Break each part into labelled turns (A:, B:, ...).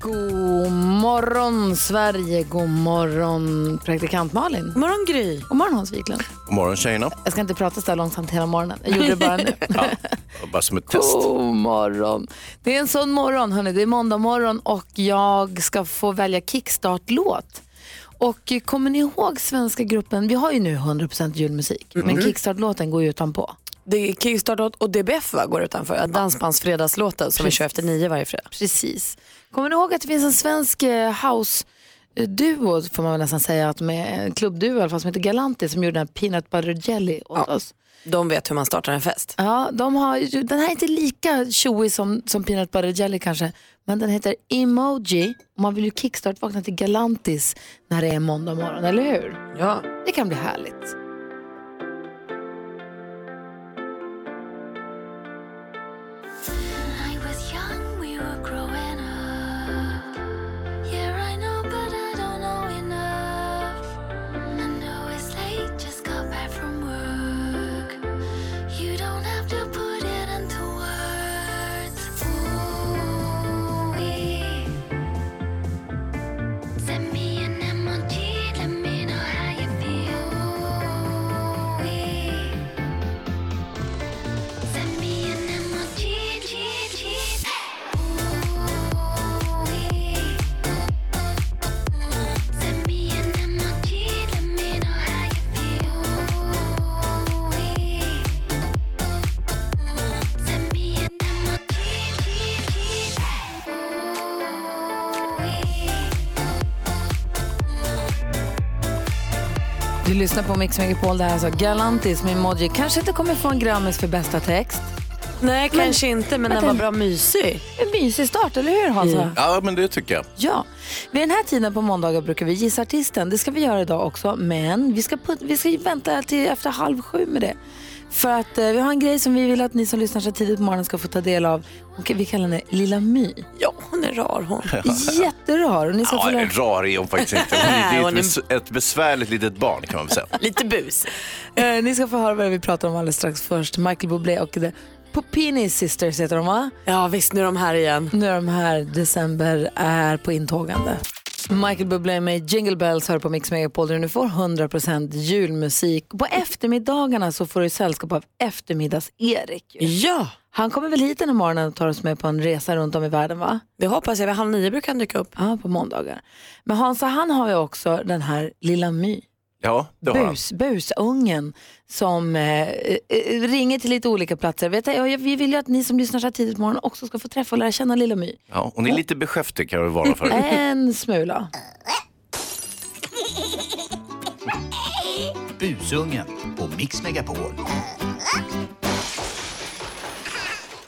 A: God morgon Sverige, god morgon praktikant Malin.
B: morgon Gry.
A: God morgon Hans Wiklund.
C: God morgon tjejerna.
A: Jag ska inte prata så här långsamt hela morgonen. Jag gjorde det bara nu.
C: Bara som ett test.
A: God morgon. Det är en sån morgon, hörni. Det är måndag morgon och jag ska få välja kickstart-låt. Och eh, kommer ni ihåg svenska gruppen? Vi har ju nu 100% julmusik, men kickstart-låten går ju utanpå.
B: Det är Kickstart och DBF va, går utanför. Ja, Dansbandsfredagslåten som vi kör efter nio varje fredag.
A: Precis. Kommer ni ihåg att det finns en svensk eh, house-duo, får man väl nästan säga, att de är eh, en klubbduo i alla fall, som heter Galanti, som gjorde den här Peanut Butter Jelly åt oss.
B: De vet hur man startar en fest.
A: Ja, de har, ju- den här är inte lika tjoig som, som Peanut Butter Jelly kanske, men den heter Emoji. Och man vill ju kickstart-vakna till Galantis när det är måndag morgon, eller hur?
B: Ja.
A: Det kan bli härligt.
D: I was young, we were growing up. Yeah, I know, but I don't know enough. I know it's late, just got back from work. You don't have to put it into words. Ooh, send me an emoji, let me know how you feel. Ooh, Send me an emoji, G, G. Send me an emoji, let me know how you feel. Send me an emoji, G, G.
A: Du lyssnar på Mix Megapol, det här är alltså Galantis med Emoji. Kanske inte kommer få en Grammis för bästa text.
B: Nej, kanske inte, men den var bra mysig.
A: En mysig start, eller hur Hansa?
C: Ja, men det tycker jag.
A: Ja, vid den här tiden på måndagar brukar vi gissa artisten. Det ska vi göra idag också, men vi ska, put- vi ska ju vänta till efter halv sju med det. För att eh, vi har en grej som vi vill att ni som lyssnar så tidigt på morgonen ska få ta del av. Och vi kallar henne Lilla My.
B: Ja, hon är rar hon.
A: Jätterar. Och ni ska få
C: Ja,
A: lära-
C: rar är hon faktiskt inte. Hon är
B: Nej,
C: ju
B: hon
C: ett,
B: är-
C: bes- ett besvärligt litet barn kan man väl säga.
B: Lite bus.
A: Eh, ni ska få höra vad vi pratar om alldeles strax. Först Michael Bublé och The Popini Sisters heter de va?
B: Ja, visst nu är de här igen.
A: Nu är de här, december är på intågande. Michael Bublé med Jingle Bells hör på Mix Megapol där du nu får 100% julmusik. På eftermiddagarna så får du sällskap av eftermiddags-Erik. ju.
B: Ja,
A: Han kommer väl hit den här morgonen och tar oss med på en resa runt om i världen va?
B: det hoppas jag. Vid halv nio brukar han dyka upp.
A: Ja, på måndagar. Men Hansa han har ju också den här lilla My.
C: Ja, det har han.
A: Bus, busungen som eh, eh, ringer till lite olika platser. Vet jag, jag, vi vill ju att ni som lyssnar så här tidigt på morgonen också ska få träffa och lära känna Lilla My.
C: Ja, hon är lite beskäftig kan jag väl
B: Eh.
C: vara för.
A: En smula.
E: Busungen på Mix Megapol.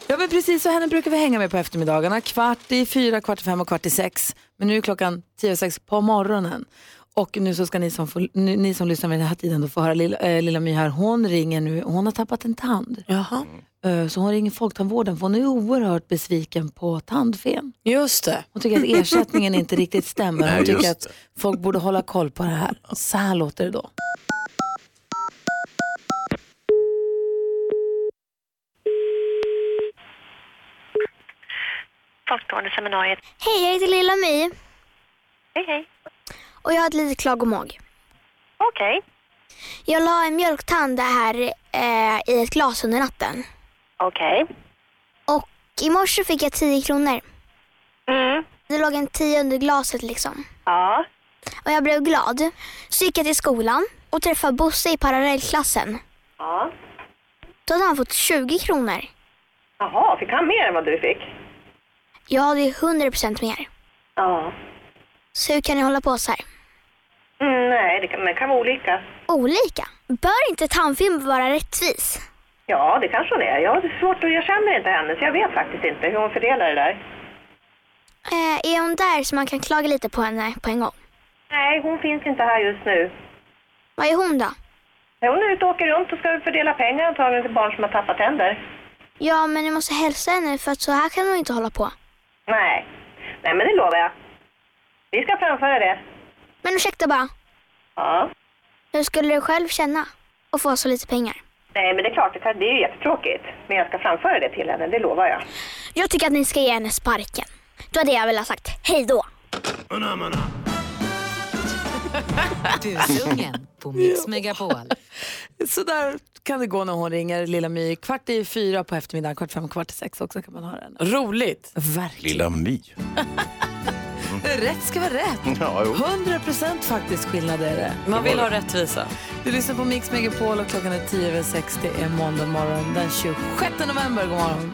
A: Ja men precis, så henne brukar vi hänga med på eftermiddagarna. Kvart i fyra, kvart i fem och kvart i sex. Men nu är klockan tio och sex på morgonen. Och nu så ska ni som, får, ni, ni som lyssnar vid den här tiden då få höra lilla, eh, lilla My här. Hon ringer nu, hon har tappat en tand.
B: Jaha.
A: Eh, så hon ringer Folktandvården för hon är oerhört besviken på tandfen.
B: Just det.
A: Hon tycker att ersättningen inte riktigt stämmer. Hon
C: Nej,
A: tycker att
C: just
A: folk borde hålla koll på det här. Så här låter det då.
F: Folkdående seminariet.
D: Hej, jag heter Lilla My
F: Hej, hej.
D: och jag har ett litet klagomål.
F: Okej.
D: Jag la en mjölktand här eh, i ett glas under natten.
F: Okej.
D: Och i morse fick jag 10 kronor.
F: Mm.
D: Det låg en 10 under glaset liksom.
F: Ja.
D: Och jag blev glad. Så gick jag till skolan och träffade Bosse i parallellklassen.
F: Ja.
D: Då hade han fått 20 kronor.
F: Jaha, fick han mer än vad du fick?
D: Jag hade ju 100% mer.
F: Ja.
D: Så hur kan ni hålla på så här?
F: Mm, nej, det kan, det kan vara olika.
D: Olika? Bör inte tandfilm vara rättvis?
F: Ja, det kanske hon är. Jag har svårt att... Jag känner inte henne, så jag vet faktiskt inte hur hon fördelar det där.
D: Eh, är hon där så man kan klaga lite på henne på en gång? Nej, hon finns inte här just nu.
G: Vad är hon då?
D: Nej, Hon är ute och åker runt och ska fördela pengar antagligen till barn som har tappat tänder.
G: Ja, men ni måste hälsa henne för att så här kan hon inte hålla på.
D: Nej. Nej, men det lovar jag. Vi ska framföra det.
G: Men ursäkta bara,
D: Ja.
G: hur skulle du själv känna att få så lite pengar?
D: Nej, men det är klart, det kan- det är ju jättetråkigt. Men jag ska framföra det till henne, det lovar jag.
G: Jag tycker att ni ska ge henne sparken. Då hade jag velat sagt hej då.
H: Busungen på Mix Megapol.
A: Så där kan det gå när hon ringer Lilla My. Kvart i fyra på eftermiddagen, kvart fem, kvart i sex också kan man höra henne.
B: Roligt.
A: Verkligen.
C: Lilla My.
A: Rätt ska vara rätt.
C: Ja, jo.
A: 100% faktiskt skillnad är det.
B: Man vill ha rättvisa.
A: Du lyssnar på Mix Megapol och klockan är tio över sex. Det är måndag morgon den 26 november. God morgon.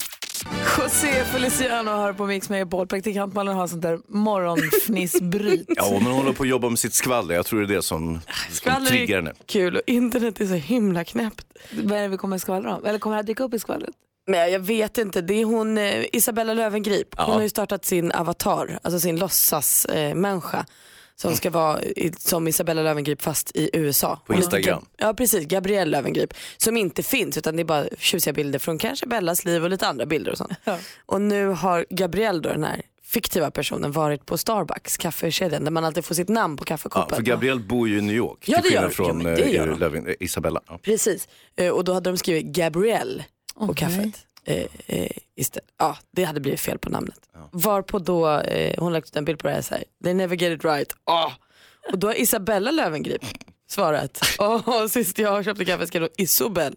A: José Feliciano hör på Mix Megapol. Praktikant Malin har sånt där morgonfnissbryt.
C: Ja, men hon håller på att jobba med sitt skvaller. Jag tror det är det som, som
A: Skvaller är-
C: triggar henne.
B: Kul och internet är så himla knäppt.
A: Vad är det vi kommer skvallra om? Eller kommer det här dyka upp i skvallret?
B: Men jag vet inte, det är hon eh, Isabella Löwengrip. Hon
A: Ja.
B: har ju startat sin avatar, alltså sin låtsasmänniska. Eh, människa, som ska vara i, som Isabella Löwengrip fast i USA.
C: På
B: Hon är-
C: Instagram.
B: Ja precis, Gabrielle Löwengrip. Som inte finns utan det är bara tjusiga bilder från kanske Bellas liv och lite andra bilder och sånt. Och nu har Gabrielle då den här fiktiva personen varit på Starbucks, kaffekedjan där man alltid får sitt namn på
C: Ja,
B: kaffekoppen.
C: för Gabrielle bor ju i New York,
B: Ja, det
C: till
B: gör
C: skillnad
B: hon. Ja,
C: från
B: men det
C: eh,
B: gör hon.
C: Lövin- eh, Isabella. Ja.
B: Precis, eh, och då hade de skrivit Gabrielle på kaffet. Eh, eh, istället. Ja, det hade blivit fel på namnet. Varpå då, eh, hon lagt ut en bild på det här så här, they never get it right. Ah. Och då har Isabella Löwengrip svarat, oh, sist jag köpte kaffe skrev då Isobel.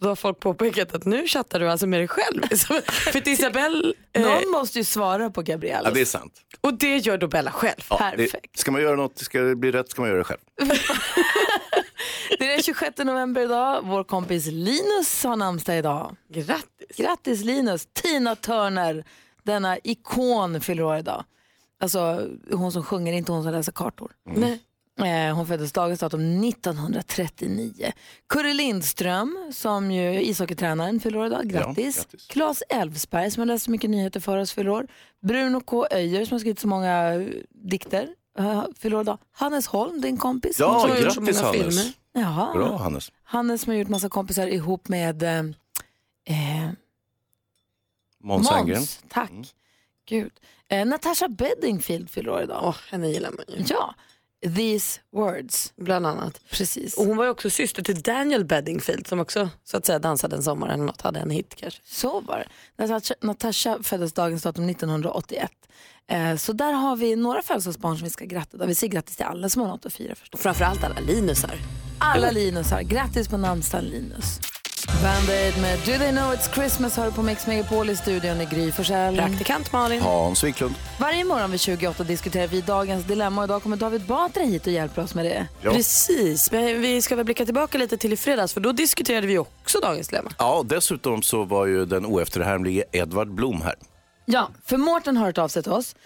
B: Då har folk påpekat att nu chattar du alltså med dig själv. För att Isabelle...
A: Någon måste ju svara på Gabrielle.
C: Ja, det är sant.
B: Och det gör då Bella själv.
C: Ja, det, ska man göra något, ska det bli rätt ska man göra det själv.
A: Det är den 26 november idag. Vår kompis Linus har namnsdag idag.
B: Grattis!
A: Grattis Linus! Tina Turner, denna ikon, fyller år idag. Alltså hon som sjunger, inte hon som läser kartor.
B: Mm. Nej.
A: Eh, Hon föddes dagens datum 1939. Kurre Lindström, som ju är ishockeytränaren, fyller år idag.
B: Ja,
A: Grattis.
B: grattis.
A: Claes Elfsberg, som har läst så mycket nyheter för oss, fyller år. Bruno K. Öijer, som har skrivit så många eh, dikter, eh, fyller år idag. Hannes Holm, din kompis.
C: Ja,
A: som har gjort så
C: grattis
A: många
C: Hannes.
A: filmer. Jaha.
C: Bra Hannes.
A: Hannes som har gjort massa kompisar ihop med eh, eh,
C: Måns Herngren.
A: Måns, tack. Gud. Eh, Natasha Bedingfield fyller år idag.
B: Åh, henne gillar man ju.
A: Ja. These words.
B: Bland annat.
A: Precis.
B: Och hon var ju också syster till Daniel Bedingfield som också så att säga dansade en sommar eller något, hade en hit kanske.
A: Så var det. Natasha, Natasha föddes dagens datum 1981. Eh, så där har vi några födelsedagsbarn som vi ska gratta. Där vi säger grattis till alla som har något att fira förstås.
B: Framförallt alla Linusar.
A: Alla Linusar. Grattis på namnsdagen Linus. Band-Aid med Do They Know It's Christmas har du på Mix Megapol i studion i Gry Forssell.
B: Praktikant Malin.
C: Hans Wiklund.
A: Varje morgon vid 28 diskuterar vi dagens dilemma och idag kommer David Batra hit och hjälper oss med det.
C: Ja.
B: Precis, men vi ska väl blicka tillbaka lite till i fredags för då diskuterade vi också dagens dilemma.
C: Ja, dessutom så var ju den oefterhärmlige Edvard Blom här.
A: Ja, för Mårten har hört av sig till oss.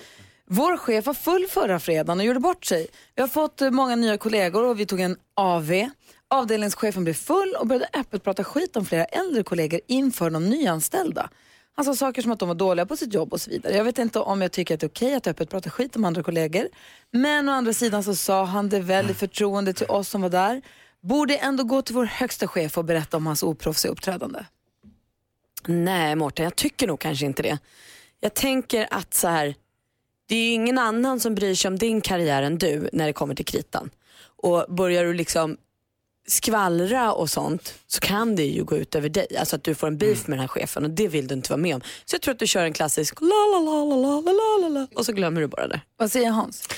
A: Vår chef var full förra fredagen och gjorde bort sig. Vi har fått eh, många nya kollegor och vi tog en AV. Avdelningschefen blev full och började öppet prata skit om flera äldre kollegor inför de nyanställda. Han sa saker som att de var dåliga på sitt jobb och så vidare. Jag vet inte om jag tycker att det är okej att öppet prata skit om andra kollegor. Men å andra sidan så sa han det väl i förtroende till oss som var där. Borde ändå gå till vår högsta chef och berätta om hans oproffsiga uppträdande.
B: Nej Mårten, jag tycker nog kanske inte det. Jag tänker att så här, det är ju ingen annan som bryr sig om din karriär än du när det kommer till kritan. Och börjar du liksom skvallra och sånt så kan det ju gå ut över dig. Alltså att du får en
A: Mm.
B: beef med den här chefen och det vill du inte vara med om. Så jag tror att du kör en klassisk la la la la la la la la och så glömmer du bara det.
A: Vad säger Hans?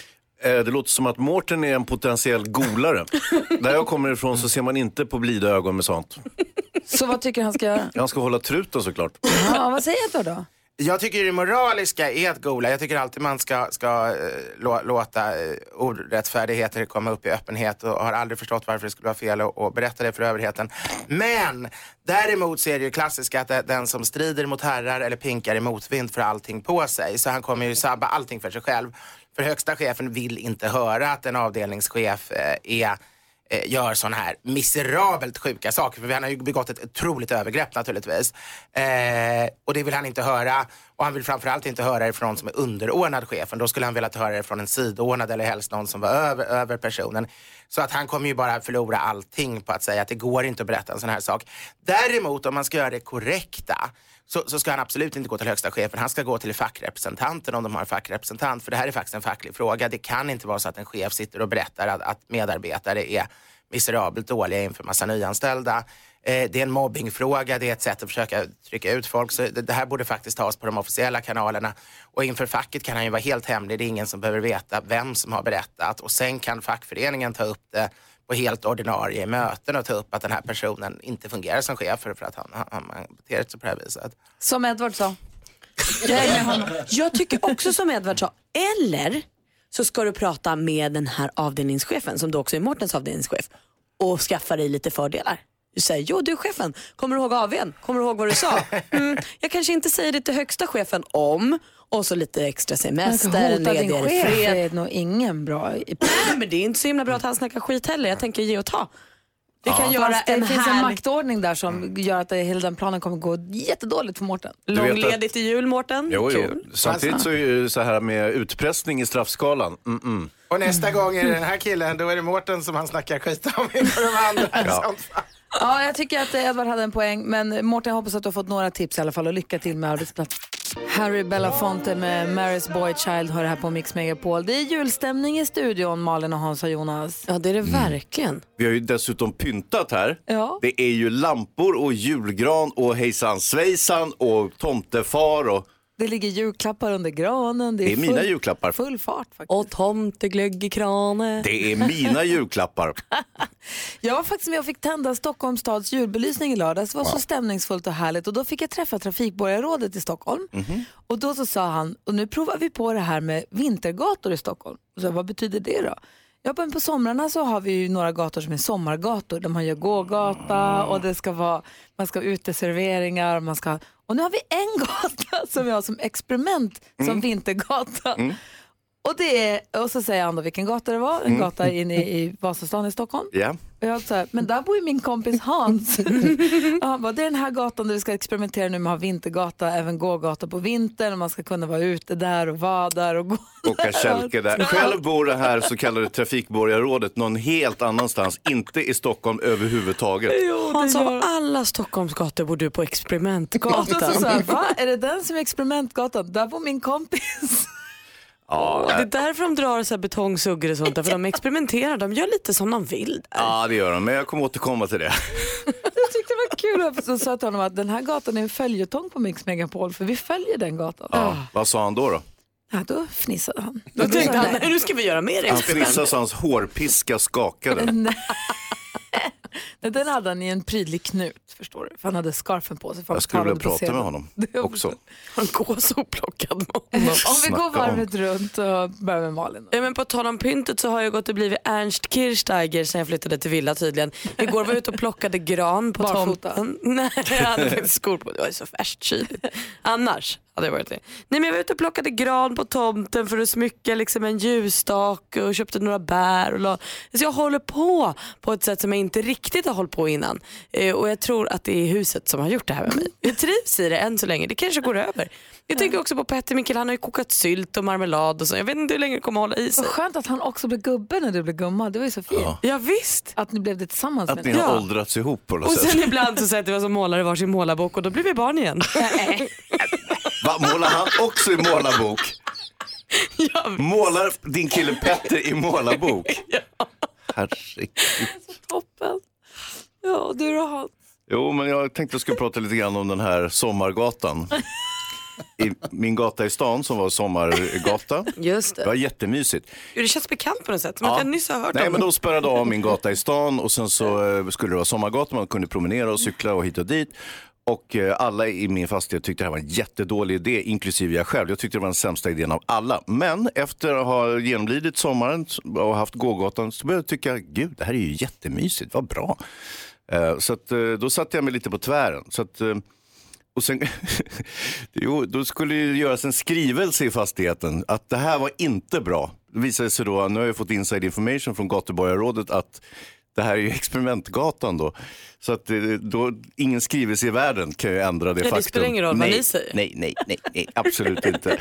C: Eh, Det låter som att Mårten är en potentiell golare. Där jag kommer ifrån så ser man inte på blida ögon med sånt.
A: Så vad tycker han ska göra?
C: Han ska hålla truten såklart.
A: Ja, vad säger du då?
I: Jag tycker det moraliska är att gola. Jag tycker alltid man ska, ska eh, lå, låta eh, orättfärdigheter komma upp i öppenhet och har aldrig förstått varför det skulle vara fel att att berätta det för överheten. Men däremot så är det ju klassiska att eh, den som strider mot herrar eller pinkar i motvind får allting på sig. Så han kommer ju sabba allting för sig själv. För högsta chefen vill inte höra att en avdelningschef eh, är eh, gör sådana här miserabelt sjuka saker. För han har ju begått ett otroligt övergrepp naturligtvis. Eh, och det vill han inte höra. Och han vill framförallt inte höra det från någon som är underordnad chefen. Då skulle han velat höra det från en sidoordnad eller helst någon som var över, över personen. Så att han kommer ju bara förlora allting på att säga att det går inte att berätta en sån här sak. Däremot om man ska göra det korrekta så, så ska han absolut inte gå till högsta chefen. Han ska gå till fackrepresentanten om de har en fackrepresentant. För det här är faktiskt en facklig fråga. Det kan inte vara så att en chef sitter och berättar att, att medarbetare är miserabelt dåliga inför massa nyanställda. Eh, det är en mobbingfråga, det är ett sätt att försöka trycka ut folk. Så det, det här borde faktiskt tas på de officiella kanalerna. Och inför facket kan han ju vara helt hemlig. Det är ingen som behöver veta vem som har berättat. Och sen kan fackföreningen ta upp det på helt ordinarie möten och ta upp att den här personen inte fungerar som chef för för att han, han, han beter sig på det här viset.
B: Som Edward sa. Jag, är med honom. jag tycker också som Edward sa. Eller så ska du prata med den här avdelningschefen som då också är Mårtens avdelningschef och skaffa dig lite fördelar. Du säger, jo du är chefen, kommer du ihåg AWn? Kommer du ihåg vad du sa? Mm, jag kanske inte säger det till högsta chefen om och så lite extra semester,
A: Hota din
B: ledighet i
A: chef
B: fred.
A: är nog ingen bra i
B: Nej men det är inte så himla bra att han snackar skit heller. Jag tänker ge och ta. Det kan
A: Fast
B: göra
A: det
B: en
A: finns en
B: härlig-
A: maktordning där som gör att det, hela den planen kommer gå jättedåligt för Mårten.
C: Du vet att- Långledigt
B: i jul, Mårten. Alltså.
C: Jo, jo. Samtidigt så är ju så här med utpressning i straffskalan. Mm -mm.
I: Och nästa gång är det den här killen, då är det Mårten som han snackar skit om inför de andra.
C: Ja.
I: Sånt.
A: Ja, jag tycker att Edvard hade en poäng, men Mårten, jag hoppas att du har fått några tips i alla fall och lycka till med arbetsplatsen. Harry Belafonte med Mary's Boy Child hör här på Mix Megapol. Det är julstämning i studion, Malin och Hans och Jonas.
B: Ja, det är det verkligen.
C: Vi har ju dessutom pyntat här.
A: Ja.
C: Det är ju lampor och julgran och hejsan svejsan och tomtefar och
A: Det ligger julklappar under granen. Det är,
C: det är mina
A: full-
C: julklappar.
A: Full fart faktiskt.
B: Och tomteglögg i kranen.
C: Det är mina julklappar.
A: Jag var faktiskt med och fick tända Stockholms stads julbelysning i lördags. Det var så stämningsfullt och härligt och då fick jag träffa trafikborgarrådet i Stockholm. Och då så sa han, och nu provar vi på det här med vintergator i Stockholm. Och Så, jag, vad betyder det då? Ja, men på somrarna så har vi ju några gator som är sommargator. där man gör gågata och det ska vara, man ska ha uteserveringar. Man ska, och nu har vi en gata som vi har som experiment som
F: Mm.
A: vintergata. Och, det är, och så säger han då vilken gata det var, en
C: Mm.
A: gata inne i Vasastan i Stockholm.
C: Ja.
A: Och jag sa, men där bor ju min kompis Hans. och han bara, det är den här gatan där vi ska experimentera nu med att ha vintergata, även gågata på vintern och man ska kunna vara ute där och vara där och gå.
C: Åka kälke där. Själv bor det här så kallade trafikborgarrådet någon helt annanstans, inte i Stockholm överhuvudtaget.
B: Hans, av alla Stockholmsgator bor du på
A: Och då så sa
B: experimentgatan.
A: jag, va? Är det den som är experimentgatan? Där bor min kompis.
C: Ja,
B: Och det är därför de drar så här betongsuggor och sånt, där, för de experimenterar, de gör lite som de vill.
C: ja, det gör de, men jag kommer återkomma till det.
A: Jag tyckte det var kul och så sa jag till honom att den här gatan är en följetong på Mix Megapol för vi följer den gatan.
C: Ja. Vad sa han då? då?
A: Ja, då fnissade han.
B: Då tänkte han, nu ska vi göra mer
C: Han
B: experiment.
C: fnissade så hans hårpiska skakade.
A: Nej. Nej, Den hade han i en prydlig knut, förstår du. För han hade skarfen på sig. för han
C: Jag skulle vilja
A: talade på
C: prata med
A: scenen.
C: honom också.
B: Han går så upplockad med
A: Om vi går varvet runt och börjar med Malin.
B: Ja, men på tal om pyntet så har jag gått och blivit Ernst Kirchsteiger sen jag flyttade till villa tydligen. Igår var jag ute och plockade gran på
A: Barfota?
B: tomten. Nej, jag hade faktiskt skor på mig. Det var ju så färskt kyligt. Annars hade jag varit det. Nej, men jag var ute och plockade gran på tomten för att smycka liksom, en ljusstake och köpte några bär. Och la... Så jag håller på på ett sätt som jag inte riktigt har hållit på innan. Eh, och jag tror att det är huset som har gjort det här med mig. Jag trivs i det än så länge. Det kanske går över. Jag tänker också på Petter Mikael. Han har ju kokat sylt och marmelad och så. Jag vet inte hur länge det kommer hålla i sig.
A: Vad skönt att han också blev gubbe när du blev gumma. Det var ju så fint.
C: Ja.
B: Ja, visst.
A: Att ni blev det tillsammans.
C: Att ni
A: menar
C: har
A: jag.
C: åldrats ihop på något
B: Och sen
C: sätt.
B: ibland så sätter vi oss och målar i varsin målarbok och då blir vi barn igen.
C: Va, målar han också i målarbok? Målar din kille Petter i målarbok? Herregud.
A: Toppen. Ja, och du då Hans?
C: Jo, men jag tänkte jag skulle prata lite grann om den här sommargatan. I min gata i stan som var sommargata.
B: Just
C: Det var jättemysigt.
B: Jo, det känns bekant på något sätt, som
C: Ja.
B: att jag nyss har hört
C: Nej,
B: om
C: men de spärrade av min gata i stan och sen så eh, skulle det vara sommargata, man kunde promenera och cykla och hit och dit. Och eh, alla i min fastighet tyckte det här var en jättedålig idé, inklusive jag själv. Jag tyckte det var den sämsta idén av alla. Men efter att ha genomlidit sommaren och haft gågatan så började jag tycka, gud, det här är ju jättemysigt, vad bra. Eh, Så att, eh, då satte jag mig lite på tvären. Så att, eh, och sen, jo, då skulle ju göras en skrivelse i fastigheten att det här var inte bra. Det visade sig då, nu har jag fått inside information från gatuborgarrådet att Det här är ju experimentgatan då. Så att eh, då, ingen skrivelse i världen kan ju ändra det
J: Nej, det
C: faktum.
J: spelar ingen roll vad
C: nej,
J: ni säger.
C: Nej, nej, nej, nej absolut inte.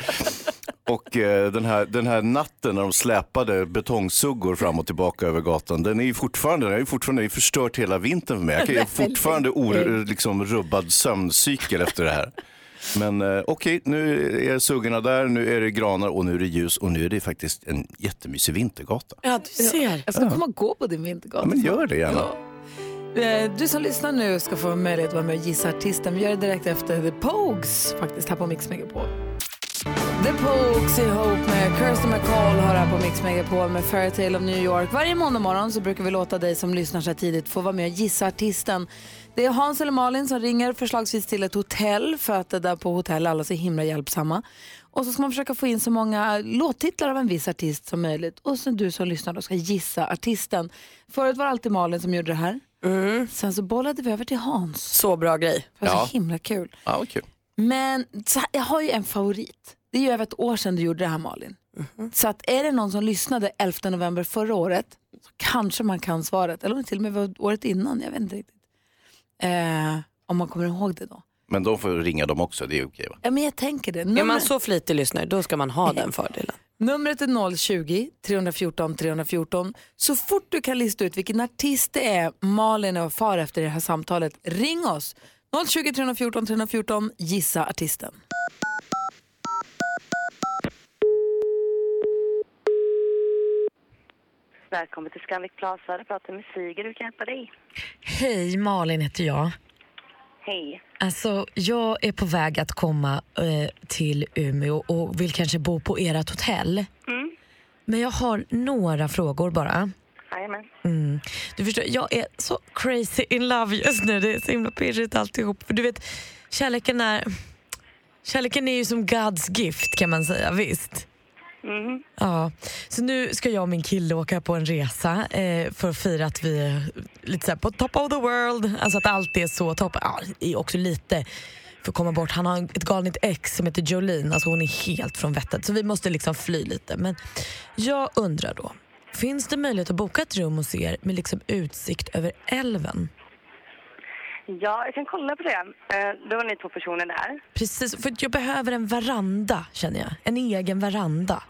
C: Och eh, den här, den här natten när de släpade betongsuggor fram och tillbaka över gatan, den är ju fortfarande, den är ju fortfarande den är ju förstört hela vintern för mig. Jag kan- jag är fortfarande or, liksom, rubbad sömncykel efter det här. Men eh, okej, nu är suggorna där, nu är det granar och nu är det ljus och nu är det faktiskt en jättemysig vintergata.
A: Ja, du ser. Jag ska komma och gå på din vintergata.
C: Ja, men gör det gärna.
A: Eh, Du som lyssnar nu ska få möjlighet att vara med och gissa artisten. Vi gör det direkt efter The Pogues faktiskt här på Mix Megapol. The Pogues ihop med Kirsten McCall har här på Mix Megapol med Fairytale of New York. Varje måndag morgon så brukar vi låta dig som lyssnar så här tidigt få vara med och gissa artisten. Det är Hans eller Malin som ringer förslagsvis till ett hotell för att det där på hotell är alla så himla hjälpsamma. Och så ska man försöka få in så många låttitlar av en viss artist som möjligt. Och sen du som lyssnar då ska gissa artisten. Förut var det alltid Malin som gjorde det här. Sen så bollade vi över till Hans.
J: Mm. Så bra grej.
A: Det var
J: Ja.
A: så himla kul.
C: Ja, vad kul.
A: Men så här, jag har ju en favorit. Det är ju över ett år sedan du gjorde det här Malin. Så att är det någon som lyssnade 11 november förra året så kanske man kan svaret. Eller om det till och med var året innan, jag vet inte riktigt. Eh, om man kommer ihåg det då.
C: Men då får vi ringa dem också, det är okej va?
A: Ja, men jag tänker det.
J: Är man
A: Numret-
J: så flitig lyssnare då ska man ha den fördelen.
A: Numret är 020-314 314. Så fort du kan lista ut vilken artist det är Malin och far efter i det här samtalet, ring oss. 020-314 314, gissa artisten.
F: Välkommen till Scandic Plaza. Du pratar med Sigrid. Hur kan jag hjälpa dig?
B: Hej, Malin heter jag.
F: Hej.
B: Alltså, jag är på väg att komma eh, till Umeå och vill kanske bo på ert hotell.
F: Mm.
B: Men jag har några frågor bara.
F: Jajamän.
B: Mm. Du förstår, jag är så crazy in love just nu. Det är så himla pirrigt alltihop. För du vet, kärleken är... Kärleken är ju som Guds gift kan man säga, visst?
A: Mm-hmm.
F: Mm.
B: Ja, så nu ska jag och min kille åka på en resa eh, för att fira att vi är lite så här på top of the world. Alltså att allt är så topp. Ja, är också lite för att komma bort. Han har ett galnigt ex som heter Jolene. Alltså hon är helt från vettet. Så vi måste liksom fly lite. Men jag undrar då, finns det möjlighet att boka ett rum hos er med liksom utsikt över älven?
F: Ja, jag kan kolla på det. Eh, Då var ni två personer där.
B: Precis, för jag behöver en veranda känner jag. En egen veranda.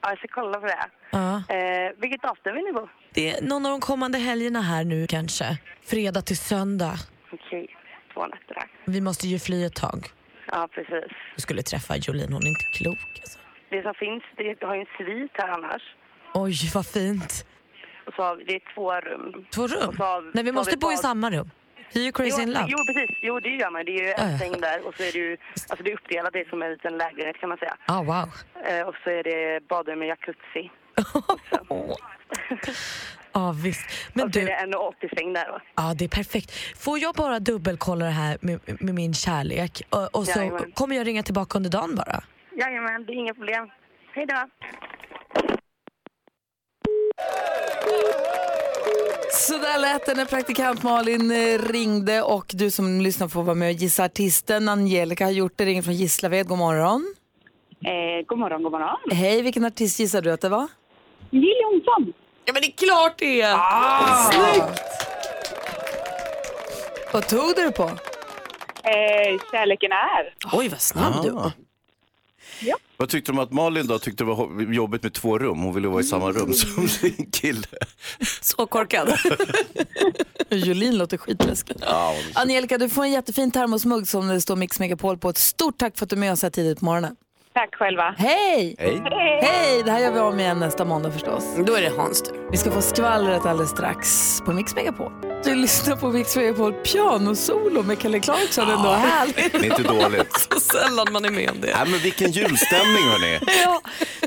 F: Ja, jag ska kolla på det.
B: Ja.
F: Eh, vilket datum vill ni bo?
B: Det är någon av de kommande helgerna här nu kanske. Fredag till söndag.
F: Okej, två nätter där.
B: Vi måste ju fly ett tag.
F: Ja, precis.
B: Du skulle träffa Jolene, hon är inte klok. Alltså.
F: Det som finns, det har ju en svit här annars.
B: Oj, vad fint.
F: Och så har vi, det är två rum.
B: Två
F: Och
B: rum?
F: så har-
B: Nej, vi
F: så
B: måste
F: har
B: bo i
F: bad-
B: samma rum. Vi är ju crazy
F: jo,
B: in love.
F: Jo, precis. Jo, det gör man. Det är ju
B: Ja, ja.
F: en säng där och så är det ju, alltså det är uppdelat, det är som en liten lägenhet kan man säga.
B: Ah, wow.
F: Eh, Och så är det badrum med jacuzzi.
B: Ja, visst.
F: och
B: Men
F: så är
B: du,
F: det en 80-säng där då.
B: ja, Ah, det är perfekt. Får jag bara dubbelkolla det här med, med min kärlek? Och, och så
F: Jajamän.
B: kommer jag ringa tillbaka under dagen bara?
F: Jajamän, det är inga problem. Hej då!
A: Så där lät det när praktikant Malin eh, ringde och du som lyssnar får vara med och gissa artisten. Angelica har gjort det, ringer från Gislaved. God morgon.
K: Eh, god morgon, god morgon.
A: Hej, vilken artist gissar du att det var?
K: Jill Johnson.
A: Ja, men det är klart det är! Ah! Snyggt! Vad tog du det på?
K: Eh, kärleken är.
J: Oj, vad snabb du var.
C: Vad tyckte de att Malin då tyckte det var ho- jobbigt med två rum? Hon ville vara i samma rum som sin kille.
J: Så korkad.
A: Jolin låter skitläskig.
C: Ja,
A: Angelica, du får en jättefin termosmugg som det står Mix Megapol på. Ett stort tack för att du är med oss här tidigt på morgonen.
K: Tack själva.
A: Hej!
C: Hej!
A: Hej! Det här gör vi om igen nästa måndag förstås.
J: Då är det Hans tur.
A: Vi ska få skvallret alldeles strax på Mix Megapol. Du lyssnar på Mix Megapol pianosolo med Kalle Clarkson ändå. Härligt!
C: Ah, Det är inte dåligt.
J: Så sällan man är med om det.
C: Nej, men vilken julstämning hörni.
A: Ja,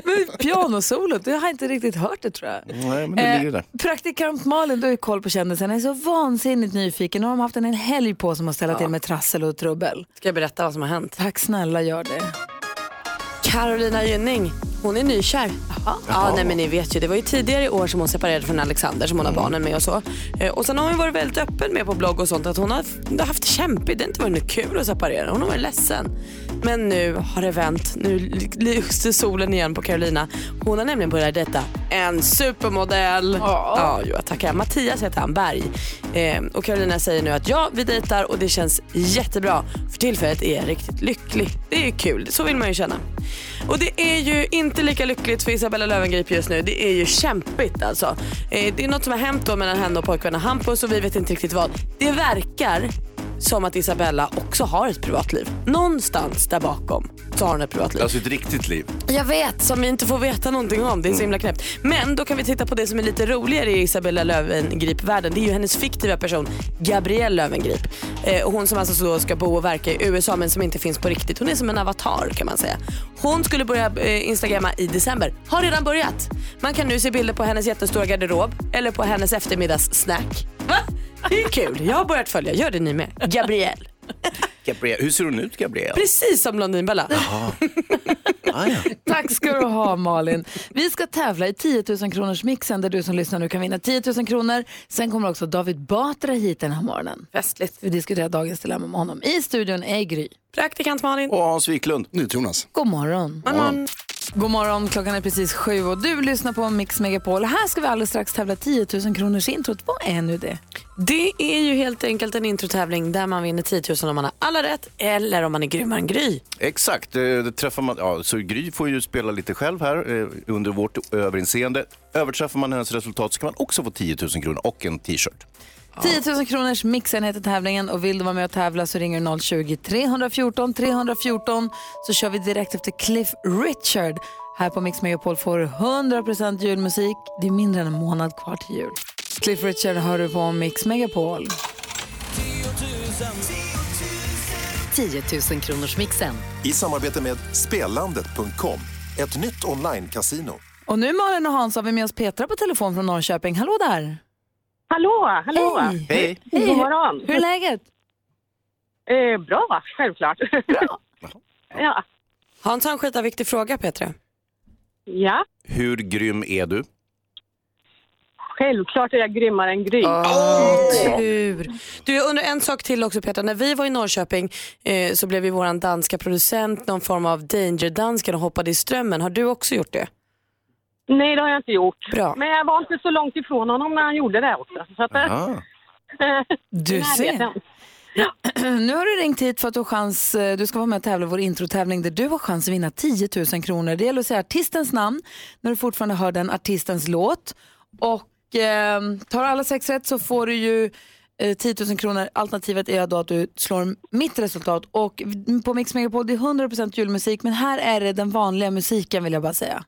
A: men pianosolot, jag har inte riktigt hört det tror jag.
C: Nej, men det ligger där.
A: Eh, praktikant Malin, du har ju koll på kändisarna. Jag är så vansinnigt nyfiken. Nu har de haft en hel helg på som har ställt till med trassel och trubbel.
J: Ska jag berätta vad som har hänt?
A: Tack snälla, gör det.
J: Carolina Gynning
B: Hon är nykär. Ja, nej, men ni vet ju, det var ju tidigare i år som hon separerade från Alexander som hon har barnen med och så. Eh, Och sen har hon ju varit väldigt öppen med på blogg och sånt att hon har f- haft det kämpigt. Det har inte varit något kul att separera. Hon har varit ledsen. Men nu har det vänt. Nu lyser solen igen på Carolina. Hon har nämligen börjat detta en supermodell. Ja, jo, jag tackar. Mattias heter han, Berg. Eh, och Carolina säger nu att ja, vi dejtar och det känns jättebra. För tillfället är jag riktigt lycklig. Det är ju kul, så vill man ju känna. Och det är ju inte lika lyckligt för Isabella Löwengrip just nu. Det är ju kämpigt alltså. Eh, det är något som har hänt då mellan henne och pojkvännen Hampus och vi vet inte riktigt vad. Det verkar som att Isabella också har ett privatliv. Någonstans där bakom så har hon ett privatliv.
C: Alltså ett riktigt liv.
B: Jag vet, som vi inte får veta någonting om. Det är så himla knäppt. Men då kan vi titta på det som är lite roligare i Isabella Löwengrip-världen. Det är ju hennes fiktiva person, Gabrielle Löwengrip. Eh, och hon som alltså så ska bo och verka i USA men som inte finns på riktigt. Hon är som en avatar kan man säga. Hon skulle börja eh, instagramma i december. Har redan börjat. Man kan nu se bilder på hennes jättestora garderob eller på hennes eftermiddagssnack. Va? Det är ju kul. Jag har börjat följa. Gör det ni med. Gabrielle.
C: Gabriel. Hur ser hon ut, Gabriel?
B: Precis som Blondinbella.
C: Jaha.
A: Tack ska du ha Malin. Vi ska tävla i 10 000 kronors mixen där du som lyssnar nu kan vinna 10 000 kronor. Sen kommer också David Batra hit den här morgonen. Festligt. Vi diskuterar dagens dilemma med honom. I studion är Gry.
B: Praktikant Malin.
C: Och Hans Wiklund.
L: Nu Jonas.
A: God morgon.
C: God morgon.
A: God morgon, klockan är precis sju och du lyssnar på Mix Megapol. Här ska vi alldeles strax tävla 10 000 kronors introt. Vad är nu det?
B: Det är ju helt enkelt en introtävling där man vinner 10 000 om man har alla rätt eller om man är grymmare än Gry.
C: Exakt, eh, det träffar man, ja, så Gry får ju spela lite själv här eh, under vårt överinseende. Överträffar man hennes resultat så kan man också få 10 000 kronor och en t-shirt.
A: 10 000 kronors mixen heter tävlingen och vill du vara med och tävla så ringer du 020-314 314 så kör vi direkt efter Cliff Richard. Här på Mix Megapol får du 100% julmusik. Det är mindre än en månad kvar till jul. Cliff Richard hör du på Mix Megapol.
M: 10 000 kronors mixen.
N: I samarbete med Spellandet.com, ett nytt online-casino.
A: Och nu Malin och Hans har vi med oss Petra på telefon från Norrköping. Hallå där!
O: Hallå, hallå.
A: Hej!
O: Hej. God morgon.
A: Hur är läget?
O: Eh, bra, självklart. ja.
B: Hans har en skitaviktig fråga Petra.
O: ja,
C: Hur grym är du?
O: självklart är jag grymmare än Gry.
B: Tur. Du, jag undrar en sak till också Petra. När vi var i Norrköping eh, så blev ju våran danska producent någon form av danger-dansken och hoppade i strömmen. Har du också gjort det?
O: Nej, det har jag inte gjort.
B: Bra.
O: Men jag var inte så långt ifrån honom när han gjorde det också. Så att, eh,
A: Du ser. nu har du ringt hit för att du, har chans, eh, du ska vara med och tävla i vår introtävling där du har chans att vinna 10 000 kronor. Det gäller att säga artistens namn när du fortfarande hör den artistens låt. Och eh, tar alla sex rätt så får du ju eh, 10 000 kronor. Alternativet är då att du slår mitt resultat. Och på Mix Megapol det är 100% julmusik men här är det den vanliga musiken vill jag bara säga.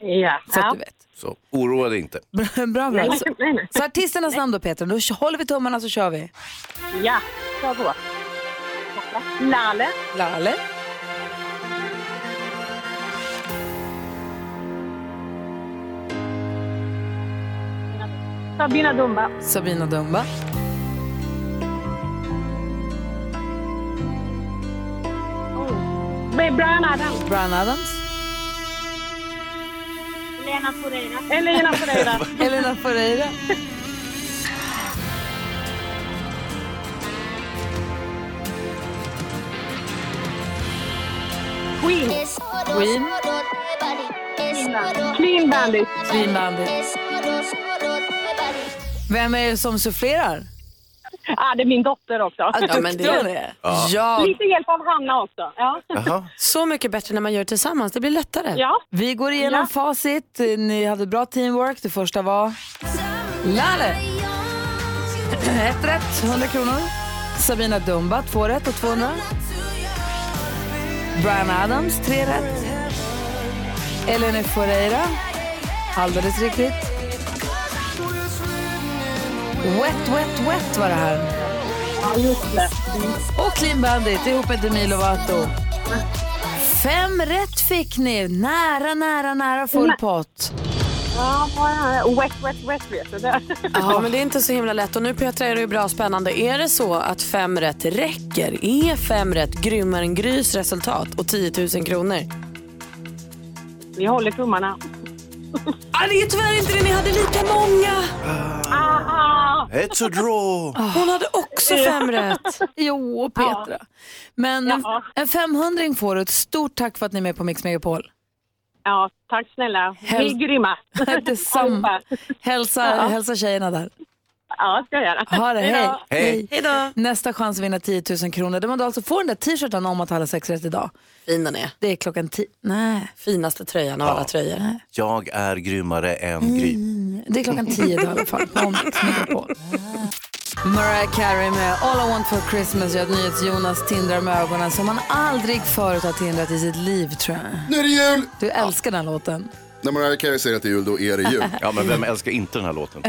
O: Ja.
A: Så att du vet.
C: Så oroa dig inte.
A: Bra, bra.
O: Nej,
B: Alltså-
A: Så,
O: nej, nej.
A: så artisternas namn då Petra, då håller vi tummarna så kör vi.
O: Ja, bra på. Lale.
A: Lale.
O: Sabina Dumba.
A: Sabina Dumba.
O: Med Oh. Brian Adams.
A: Brian Adams.
O: Elena Ferreira. Elena Ferreira.
A: Elena Ferreira.
O: Queen.
A: Queen.
O: Clean Bandit.
A: Clean Bandit. Vem är det som sufflerar?
O: Ah, det är min dotter också.
B: Ja, men det är det. Ja.
O: Lite hjälp av Hanna också. Ja.
B: Så mycket bättre när man gör det tillsammans. Det blir lättare.
O: Ja.
A: Vi går igenom
B: Ja.
A: facit. Ni hade bra teamwork. Det första var Lalle. Ett rätt, 100 kronor. Sabina Dumba, två rätt och 200. Brian Adams, tre rätt. Eleni Ferreira, alldeles riktigt. Wet, wet, wet var det här. Och Clean Bandit ihop med Demi Lovato. Fem rätt fick ni. Nära, nära, nära full
O: Nej.
A: pott.
O: Ja, bara wet, wet, wet vet du. Det.
B: Ja, men det är inte så himla lätt. Och nu Petra är det ju bra spännande. Är det så att fem rätt räcker? Är fem rätt grymmare än Grys resultat och 10 000 kronor?
O: Vi håller tummarna.
B: Ah, det är tyvärr inte det, ni hade lika många.
C: It's a draw!
B: Ah,
A: Hon hade också fem rätt. Jo, och Petra. Men en, en 500 får du. Ett stort tack för att ni är med på Mix Megapol.
O: Ja, tack snälla. Ni är
A: Häl-
O: grymma.
A: Detsamma. Hälsa,
O: Ja.
A: hälsa tjejerna där.
O: Ja, ska jag göra.
A: Ha det, hej.
O: Hejdå.
A: Nästa chans att vinna 10 000 kronor. Där man då alltså får den där t-shirten om att alla sex rätt idag.
B: Fin den är.
A: Det är klockan 10. Nej.
B: Finaste tröjan av alla tröjor.
C: Jag är grymmare än Gry.
A: Mm, Det är klockan 10 då, i alla fall. På Mix Megapol. Mariah Carey med All I Want For Christmas gör att NyhetsJonas tindrar med ögonen som han aldrig förut har tindrat i sitt liv tror jag.
P: Nu är det jul!
A: Du älskar den låten.
P: När Mariah Carey säger att det är jul, då är det jul.
C: Ja, men vem älskar inte den här låten?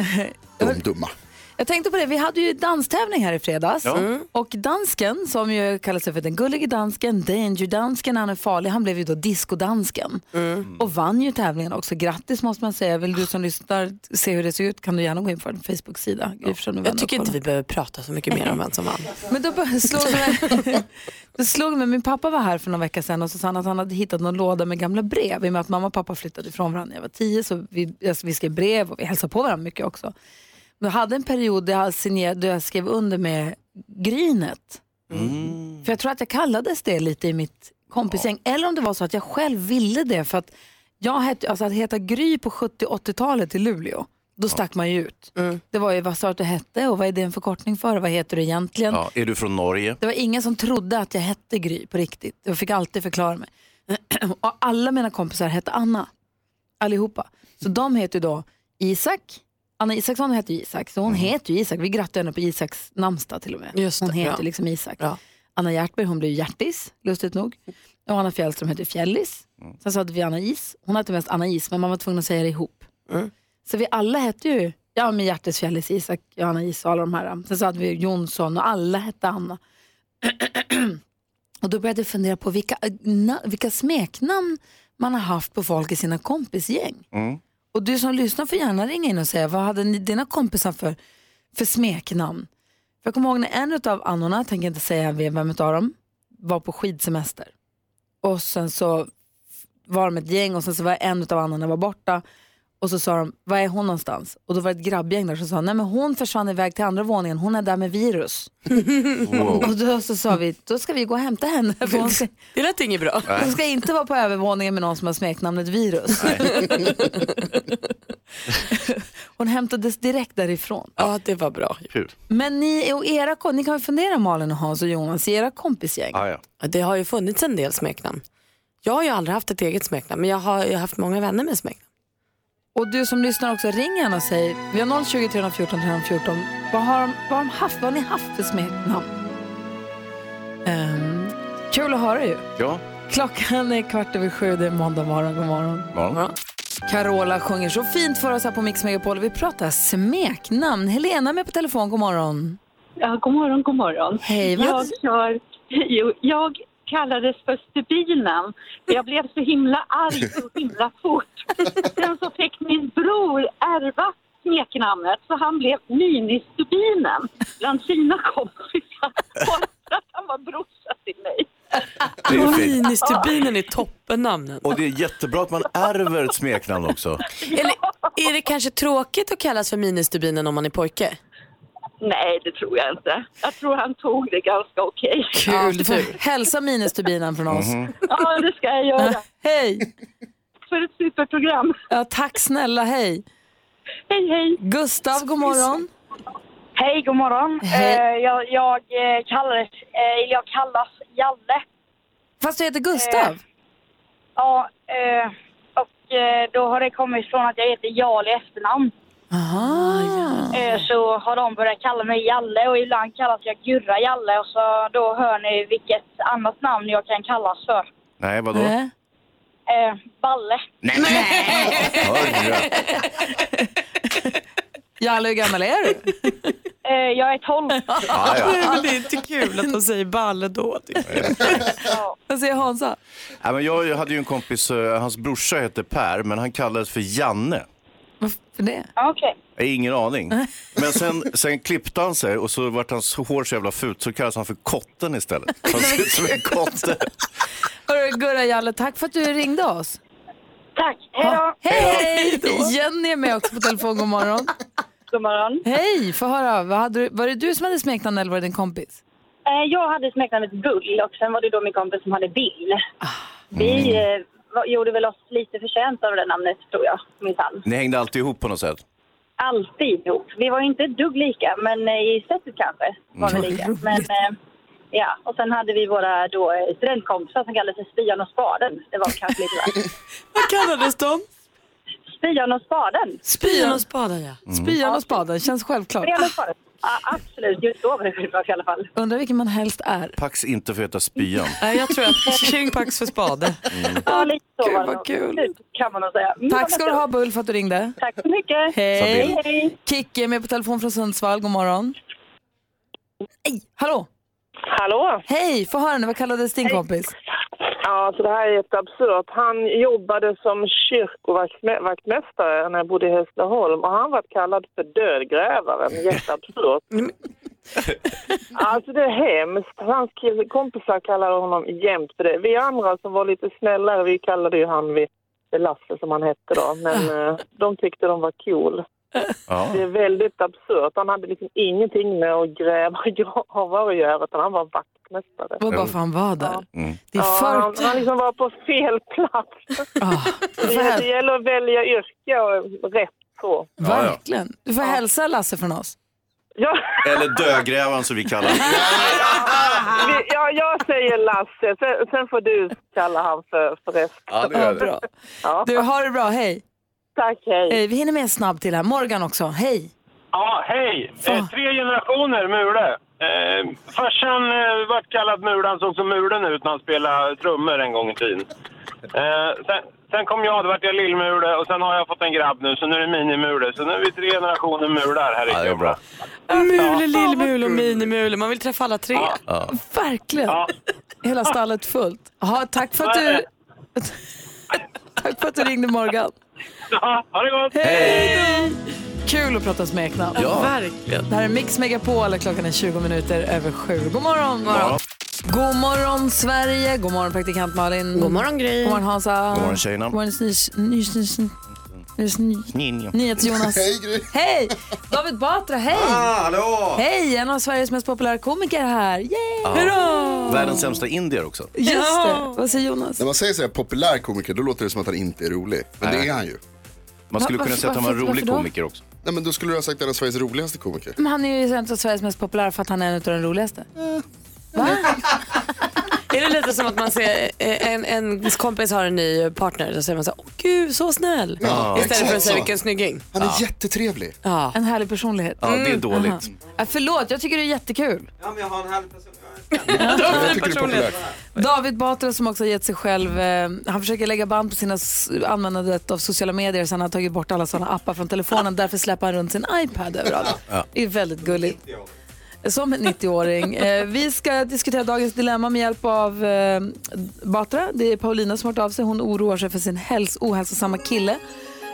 P: De dumma.
A: Jag tänkte på det, vi hade ju danstävling här i fredags
P: Ja. Mm.
A: och dansken som ju kallar sig för den gullige dansken, danger dansken, han är farlig, han blev ju då diskodansken
P: Mm.
A: och vann ju tävlingen också. Grattis måste man säga, vill du som lyssnar se hur det ser ut kan du gärna gå in på en Facebook-sida.
B: Jag tycker inte vi behöver prata så mycket mer om vem som vann.
A: Men då bara slog det mig, då slog det mig, min pappa var här för någon vecka sedan och så sa han att han hade hittat någon låda med gamla brev. I och med att mamma och pappa flyttade ifrån varandra när jag var tio så vi, alltså, vi skrev brev och vi hälsade på varandra mycket också. Men jag hade en period där jag, signerade, där jag skrev under med Grynet. För jag tror att jag kallades det lite i mitt kompisgäng. Eller om det var så att jag själv ville det. För att, jag hette, alltså att heta Gry på 70-80-talet i Luleå, då stack man ju ut. Det var ju vad sa du att du hette och vad är det en förkortning för och vad heter du egentligen?
B: Mm.
C: Ja, är du från Norge?
A: Det var ingen som trodde att jag hette Gry på riktigt. Jag fick alltid förklara mig. Och alla mina kompisar hette Anna. Allihopa. Så de heter ju då Isak. Anna Isaksson heter ju Isak, så hon
B: Mm.
A: heter ju Isak. Vi grattade henne på Isaks namnsdag till och med. hon heter
B: ja.
A: liksom Isak. Anna Hjärtberg, hon blev ju Hjärtis, lustigt nog. Och Anna Fjällström hette Fjällis.
B: Mm.
A: Sen så hade vi Anna Is. Hon hette mest Anna Is, men man var tvungen att säga det ihop.
B: Mm.
A: Så vi alla hette ju, ja men Hjärtis, Fjällis, Isak, Johanna Is och alla de här. Sen så hade vi Jonsson och alla hette Anna. och då började jag fundera på vilka, eh, na, vilka smeknamn man har haft på folk i sina kompisgäng.
C: Mm.
A: Och du som lyssnar får gärna ringa in och säga, vad hade ni, dina kompisar för, för smeknamn? För jag kommer ihåg när en av annorna, jag tänker inte säga vem av dem, var på skidsemester. Och sen så var de ett gäng och sen så var en av annorna var borta. Och så sa de, var är hon någonstans? Och då var det ett grabbgäng där som sa, nej men hon försvann iväg till andra våningen, hon är där med virus. Och då så sa vi, då ska vi gå och hämta henne. För hon ska,
B: Det lät inget bra.
A: hon ska inte vara på övervåningen med någon som har smeknamnet virus. hon hämtades direkt därifrån.
B: Ja, det var bra.
C: Kul.
A: Men ni, och era, kom- ni kan väl fundera Malin och Hans och Jonas i era kompisgäng.
C: Ah,
B: Det har ju funnits en del smeknamn. Jag har ju aldrig haft ett eget smeknamn, men jag har ju haft många vänner med smeknamn.
A: Och du som lyssnar också, ring gärna och säg, vi har 020 314 314, vad har de, vad har de haft, vad har ni haft för smeknamn? Ehm, kul att höra ju.
C: Ja.
A: Klockan är kvart över sju, det är måndag morgon, god morgon.
C: Morgon.
A: Carola sjunger så fint för oss här på Mix Megapol. Vi pratar smeknamn. Helena är med på telefon, god morgon.
O: Ja, god morgon, god morgon.
A: Hej, vad
O: jag, kör, jo, jag kallades för Stubinen. för Jag blev så himla arg så himla fort. Sen så fick min bror ärva smeknamnet så han blev Mini-Stubinen bland sina kompisar. Bara att han var brorsa till mig.
C: Det är fint.
B: Ministubinen är toppennamnen.
C: Och det är jättebra att man ärver ett smeknamn också.
B: Eller är det kanske tråkigt att kallas för Ministubinen om man är pojke?
O: Nej, det tror jag inte. Jag tror han tog det ganska okej.
A: Ja, du får hälsa Minestubinen från oss.
O: Ja, det ska jag göra.
A: hej!
O: för ett superprogram.
A: Ja, tack snälla, hej.
O: Hej, hej.
A: Gustav, god morgon.
K: Hej, god morgon.
A: Hej.
K: Eh, jag, jag eh, kallades, eh, eller jag kallas Jalle.
A: Fast du heter Gustav?
K: Eh, ja, eh, och eh, då har det kommit från att jag heter Jarl i efternamn. Eh, så har de börjat kalla mig Jalle och ibland kallas jag Gurra Jalle och så då hör ni vilket annat namn jag kan kallas för.
C: Nej, vadå?
K: Eh, Balle.
C: Nej! Hörru.
A: Jalle, hur gammal är du?
K: Eh, jag är 12.
C: Ja, ja.
B: Nej, men Det är inte kul att de säger balle då. typ.
A: Vad säger Hansa?
C: Nej, men jag hade ju en kompis, eh, hans brorsa hette Per, men han kallades för Janne.
A: För det?
K: Okej.
C: Jag har ingen aning. Men sen, sen klippte han sig och så vart hans hår så jävla fult så kallades han för Kotten istället. Han ser ut som en kotte.
A: Hörru, Gurra Jalle, tack för att du ringde oss.
K: Tack, hej då!
A: Hej! Jenny är med också på telefon. God morgon.
K: God morgon.
A: Hej! Få höra, vad hade du, var det du som hade smeknamn eller var det din kompis?
K: Eh, Jag hade smeknamnet Bull och sen var det då min kompis som hade Bill. Vi eh, var- gjorde väl oss lite förtjänta av det namnet tror jag, minsann.
C: Ni hängde alltid ihop på något sätt?
K: Alltid ihop. Vi var ju inte ett dugg lika, men eh, i sättet kanske var vi
C: Mm.
K: lika. Men, eh, ja. Och sen hade vi våra då, eh, studentkompisar som kallades för Spian och Spaden. Det var kanske lite väl.
A: Vad kallades de?
K: Spian och Spaden.
A: Spian och spaden, ja. Spian Mm. och spaden, känns självklart.
K: Spian och Spaden. Ja, absolut. Just då var det självklart i alla fall.
A: Undrar vilken man helst är.
C: Pax inte för att heta spyan.
A: Nej, jag tror att Tjing pax för spade.
K: Ja, lite så
A: Gud,
K: var det
A: vad
K: nog.
A: kul.
K: Typ, Kan man nog säga. Mm,
A: Tack
K: det
A: ska
K: var
A: du ha Bull för att du ringde.
K: Tack så mycket.
A: Hej. Kikki är med på telefon från Sundsvall. God morgon. Hej, hallå.
Q: Hallå.
A: Hej, få höra nu. Vad kallades din kompis?
Q: Ja, så det här är jätteabsurt. Han jobbade som kyrkovaktmästare när jag bodde i Hässleholm och han var kallad för dödgrävaren. Jätteabsurt.
A: Mm.
Q: Alltså det är hemskt. Hans kill- kompisar kallade honom jämt för det. Vi andra som var lite snällare, vi kallade ju han vid Lasse som han hette då,
A: Ah.
Q: men eh, de tyckte de var cool.
C: Ja.
Q: Det är väldigt absurt. Han hade liksom ingenting med att gräva gravar att göra utan han var vaktmästare.
A: Det var bara för han var där.
P: Mm.
A: Det är
Q: Ja,
A: för...
Q: han, han liksom var på fel plats.
A: Ah,
Q: det, det gäller att välja yrke och rätt så.
A: Verkligen. Du får hälsa Lasse från oss.
Q: Ja,
C: Eller dögrävan som vi kallar det.
Q: vi- ja, jag säger Lasse, sen, sen får du kalla han för, för resten.
C: Ja,
A: det gör Ja, det. bra. Du, har det bra. Hej.
Q: Tack, hej.
A: Eh, Vi hinner med en snabb till här. Morgan också. Hej.
R: Ja, hej! Eh, tre generationer Mule. Eh, farsan eh, vart kallad Mulan, såg som Mulen ut när han spelade trummor en gång i tiden. Eh, sen, sen kom jag, då vart jag Lillmule och sen har jag fått en grabb nu, så nu är det Minimule. Så nu är vi tre generationer Mular här i ja, det är bra.
H: Mule, lillmul och minimule. Man vill träffa alla tre.
C: Ja.
A: Verkligen. Hela stallet fullt. Ja, tack för att du... tack för att du ringde Morgan.
R: Ja, ha det gott!
A: Hej! Kul att prata smeknamn.
R: Ja.
A: verkligen. Det här är Mix Megapol och klockan är 20 minuter över sju. God morgon!
H: God morgon.
A: God morgon Sverige! God morgon praktikant Malin!
H: God morgon, Gry.
A: God morgon Hansa!
C: God morgon, tjejerna.
A: God morgon Nys... Nys... Nys... Nys...
C: Ninja.
A: NyhetsJonas.
C: Hej, Gry.
A: Hej! David Batra, hej!
C: Ah, hallå!
A: Hej! En av Sveriges mest populära komiker här. Yay! Hurra!
C: Världens sämsta indier också.
A: Just det. Vad säger Jonas?
P: När man säger så här populär komiker då låter det som att han inte är rolig. Men
C: Nej.
P: det är han ju.
C: Man skulle Va- kunna varför- säga att han var en varför- rolig varför då? komiker
P: också. Nej men då skulle du ha sagt att han är Sveriges roligaste komiker.
A: Men han är ju en av Sveriges mest populära för att han är en av de roligaste.
C: Eh.
B: Är det lite som att man ser eh, en, en kompis har en ny partner och så säger man så här, åh gud så snäll.
P: Ja,
B: Istället för att
P: exakt så.
B: säga vilken snygging.
P: Han är jättetrevlig.
B: Ja.
A: En härlig personlighet.
P: Ja, det är
A: Mm.
P: dåligt.
A: Aha. Ja, förlåt, jag tycker det är jättekul.
S: Ja, men jag har en härlig person.
A: Jag
S: tycker det är populärt.
A: David Batra som också har gett sig själv, eh, han försöker lägga band på sina s- användandet av sociala medier så han har tagit bort alla sådana appar från telefonen. Därför släpper han runt sin iPad överallt.
T: Ja.
A: Det är väldigt gulligt. Som en 90-åring. Eh, vi ska diskutera dagens dilemma med hjälp av eh, Batra. Det är Paulina som har hört av sig. Hon oroar sig för sin häls- ohälsosamma kille.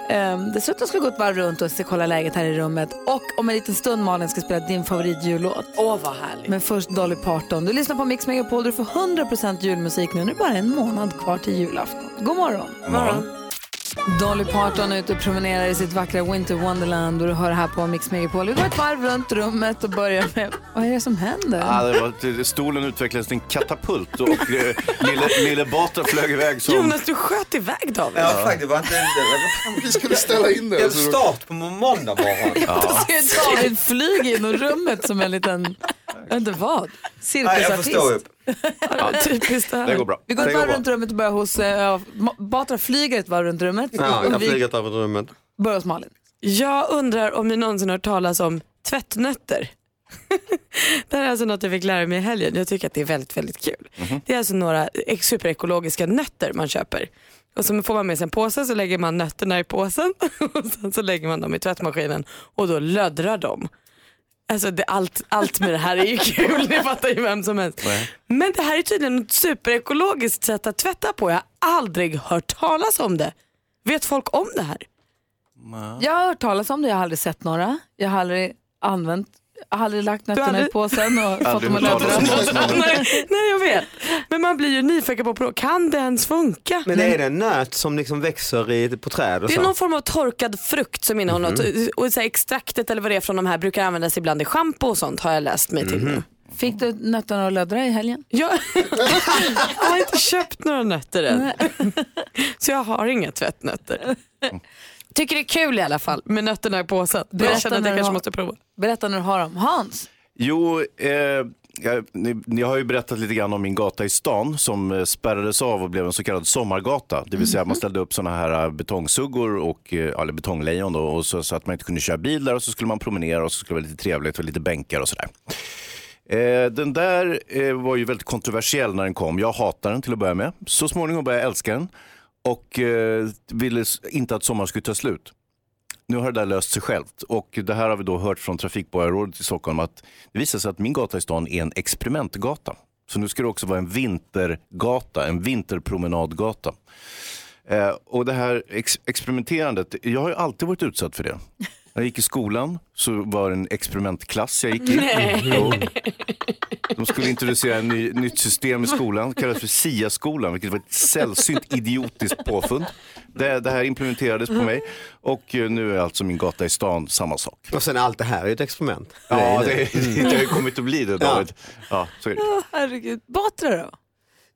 A: Eh, dessutom ska vi gå ett varv runt och se- kolla läget här i rummet. Och om en liten stund Malin ska spela din favoritjullåt.
B: Åh vad härligt.
A: Men först Dolly Parton. Du lyssnar på Mix Megapol. Du får 100% julmusik nu. Nu är det bara en månad kvar till julafton. God morgon. Dolly Parton är ute och promenerar i sitt vackra Winter Wonderland och du hör här på Mix Megapol. Vi går ett varv runt rummet och börjar med... Vad är det som händer?
C: Ja, det var, stolen utvecklades till en katapult och eh, lille, lille Batra flög iväg som...
H: Jonas, du sköt iväg David.
C: Ja,
S: Ja, faktiskt, det var inte... det var-
P: Vi skulle ställa in det.
S: En start på måndag morgon.
C: Ja.
A: Ser David flyger genom rummet som en liten... Jag vet inte vad.
S: Nej, jag
A: Cirkusartist.
S: förstår upp.
A: Ja, typiskt här.
S: Det går bra.
A: Vi går ett
S: Det går
A: varv
S: bra.
A: runt rummet och börjar hos... Äh, Batra flyger ett varv runt rummet.
S: Ja, jag
A: och
S: har
A: vi
S: flugit över rummet.
A: börjar hos Malin.
B: Jag undrar om ni någonsin har hört talas om tvättnötter. det här är alltså något jag fick lära mig i helgen. Jag tycker att det är väldigt, väldigt kul. Det är alltså några eh, superekologiska nötter man köper. Och så får man med sig en påse så lägger man nötterna i påsen och sen så lägger man dem i tvättmaskinen och då löddrar de. Alltså det, allt, allt med det här är ju kul, det fattar ju vem som helst. Men det här är tydligen ett superekologiskt sätt att tvätta på. Jag har aldrig hört talas om det. Vet folk om det här?
A: Jag har hört talas om det, jag har aldrig sett några. Jag har aldrig använt Jag har aldrig lagt nötterna i påsen och fått dem att
B: nej,
A: löddra.
B: nej, jag vet. Men man blir ju nyfiken på, på kan det ens funka?
S: Men är det en nöt som liksom växer i, på träd och
B: Det är
S: så?
B: någon form av torkad frukt som innehåller
S: Mhm.
B: något. Och så här, extraktet eller vad det är från de här brukar användas ibland i schampo och sånt har jag läst mig till
S: Mhm.
B: nu.
A: Fick du nötterna att löddra i helgen?
B: Ja. Jag har inte köpt några nötter än. Så jag har inga tvättnötter. Tycker det är kul i alla fall med nötterna i påsen.
A: Berätta
B: jag känner att
A: när
B: jag
A: du
B: kanske
A: har-
B: måste prova.
A: Berätta när du har dem. Hans,
C: Jo, eh, jag, ni, ni har ju berättat lite grann om min gata i stan som eh, spärrades av och blev en så kallad sommargata. Det vill säga man ställde upp sådana här eh, betongsuggor och, eh, eller betonglejon då, och så, så att man inte kunde köra bil där och så skulle man promenera och så skulle det vara lite trevligt och lite bänkar och sådär. Eh, Den där eh, var ju väldigt kontroversiell när den kom. Jag hatade den till att börja med. Så småningom började jag älska den och eh, ville s- inte att sommaren skulle ta slut. Nu har det där löst sig självt och det här har vi då hört från trafikborgarrådet i Stockholm att det visar sig att min gata i stan är en experimentgata. Så nu ska det också vara en vintergata, en vinterpromenadgata. Eh, och det här ex- experimenterandet, jag har ju alltid varit utsatt för det. När jag gick i skolan så var det en experimentklass jag gick i.
E: Nej.
C: Jo. De skulle introducera ett ny, nytt system i skolan, det kallades för SIA-skolan, vilket var ett sällsynt idiotiskt påfund. Det, det här implementerades på mig och eh, nu är alltså min gata i stan samma sak.
S: Och sen allt det här är ju ett experiment.
C: Ja,
S: Nej, nej.
C: det, det har ju kommit att bli det David. Ja, så är det.
A: oh, herregud. Batra då?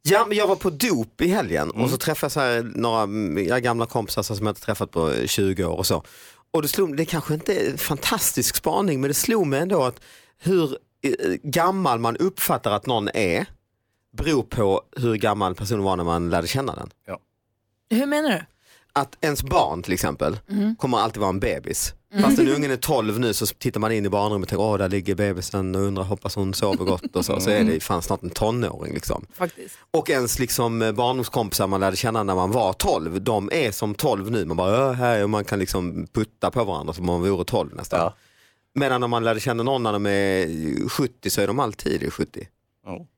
S: Ja, men jag var på dop i helgen och så träffade jag så här några mm, jag gamla kompisar som jag inte träffat på 20 år och så. Och det slog det kanske inte är en fantastisk spaning, men det slog mig ändå att hur eh, gammal man uppfattar att någon är beror på hur gammal personen var när man lärde känna den.
A: Hur menar du?
S: Att ens barn till exempel
A: Mm.
S: kommer alltid vara en bebis. Fast den ungen är 12 nu så tittar man in i barnrummet och tänker åh där ligger bebisen och undrar hoppas hon sover gott och så. Så är
A: Mm.
S: det ju fan snart en tonåring liksom.
A: Faktiskt.
S: Och ens liksom eh, barndomskompisar man lärde känna när man var 12, de är som 12 nu. Man bara, "Ö, här och man kan liksom putta på varandra som om man vore 12 nästan. Medan om man lärde känna någon när de är 70 så är de alltid 70.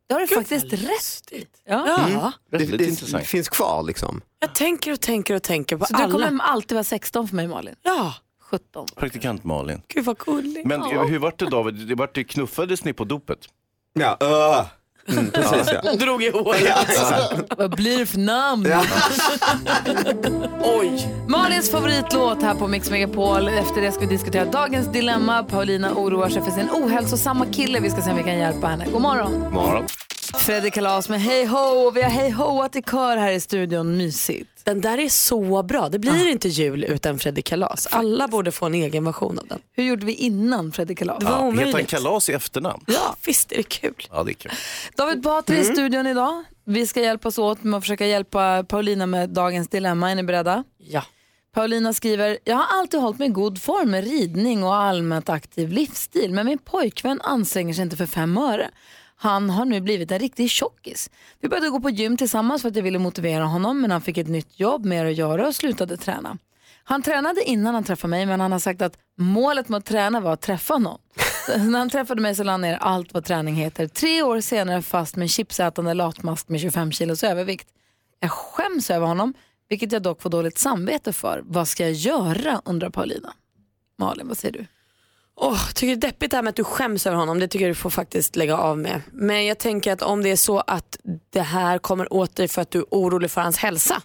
A: Det har du faktiskt rätt i. Ja.
S: Mm. Det, det, det finns kvar liksom.
B: Jag tänker och tänker och tänker på
A: Så
B: alla.
A: du kommer alltid vara 16 för mig Malin?
B: Ja.
A: 17.
C: Praktikant Malin.
B: Gud vad gulligt.
C: Men eh, hur vart det David? Det vart det knuffades ni på dopet?
S: Ja, Mm, precis, ja.
B: Drog i håret.
A: Vad blir det för namn?
B: Oj!
A: Malins favoritlåt här på Mix Megapol. Efter det ska vi diskutera dagens dilemma. Paulina oroar sig för sin ohälsosamma kille. Vi ska se om vi kan hjälpa henne. God morgon.
C: Morgon.
A: Fredrik Kalas med Hej Ho. Vi har Hej Hoat i kör här i studion. Mysigt. Ah.
B: Den där är så bra. Det blir inte jul utan Fredrik Kalas. Alla borde få en egen version av den.
A: Hur gjorde vi innan Fredrik Kalas?
B: Det var
C: Heter han
B: omöjligt.
C: kalas i efternamn?
B: Ja, visst är det kul.
C: Ja, det är kul.
A: David Batra är i
B: Mm.
A: studion idag. Vi ska hjälpas åt med att försöka hjälpa Paulina med dagens dilemma. Är ni beredda?
B: Ja.
A: Paulina skriver, jag har alltid hållit mig i god form med ridning och allmänt aktiv livsstil, men min pojkvän anstränger sig inte för fem öre. Han har nu blivit en riktig tjockis. Vi började gå på gym tillsammans för att jag ville motivera honom, men han fick ett nytt jobb, mer att göra och slutade träna. Han tränade innan han träffade mig, men han har sagt att målet med att träna var att träffa någon. Så När han träffade mig så lade han ner allt vad träning heter. Tre år senare fast med en chipsätande latmask med 25 kilos övervikt. Jag skäms över honom, vilket jag dock får dåligt samvete för. Vad ska jag göra, undrar Paulina. Malin, vad säger du?
B: Åh, tycker det är deppigt det här med att du skäms över honom. Det tycker jag du får faktiskt lägga av med. Men jag tänker att om det är så att det här kommer åt dig för att du är orolig för hans hälsa.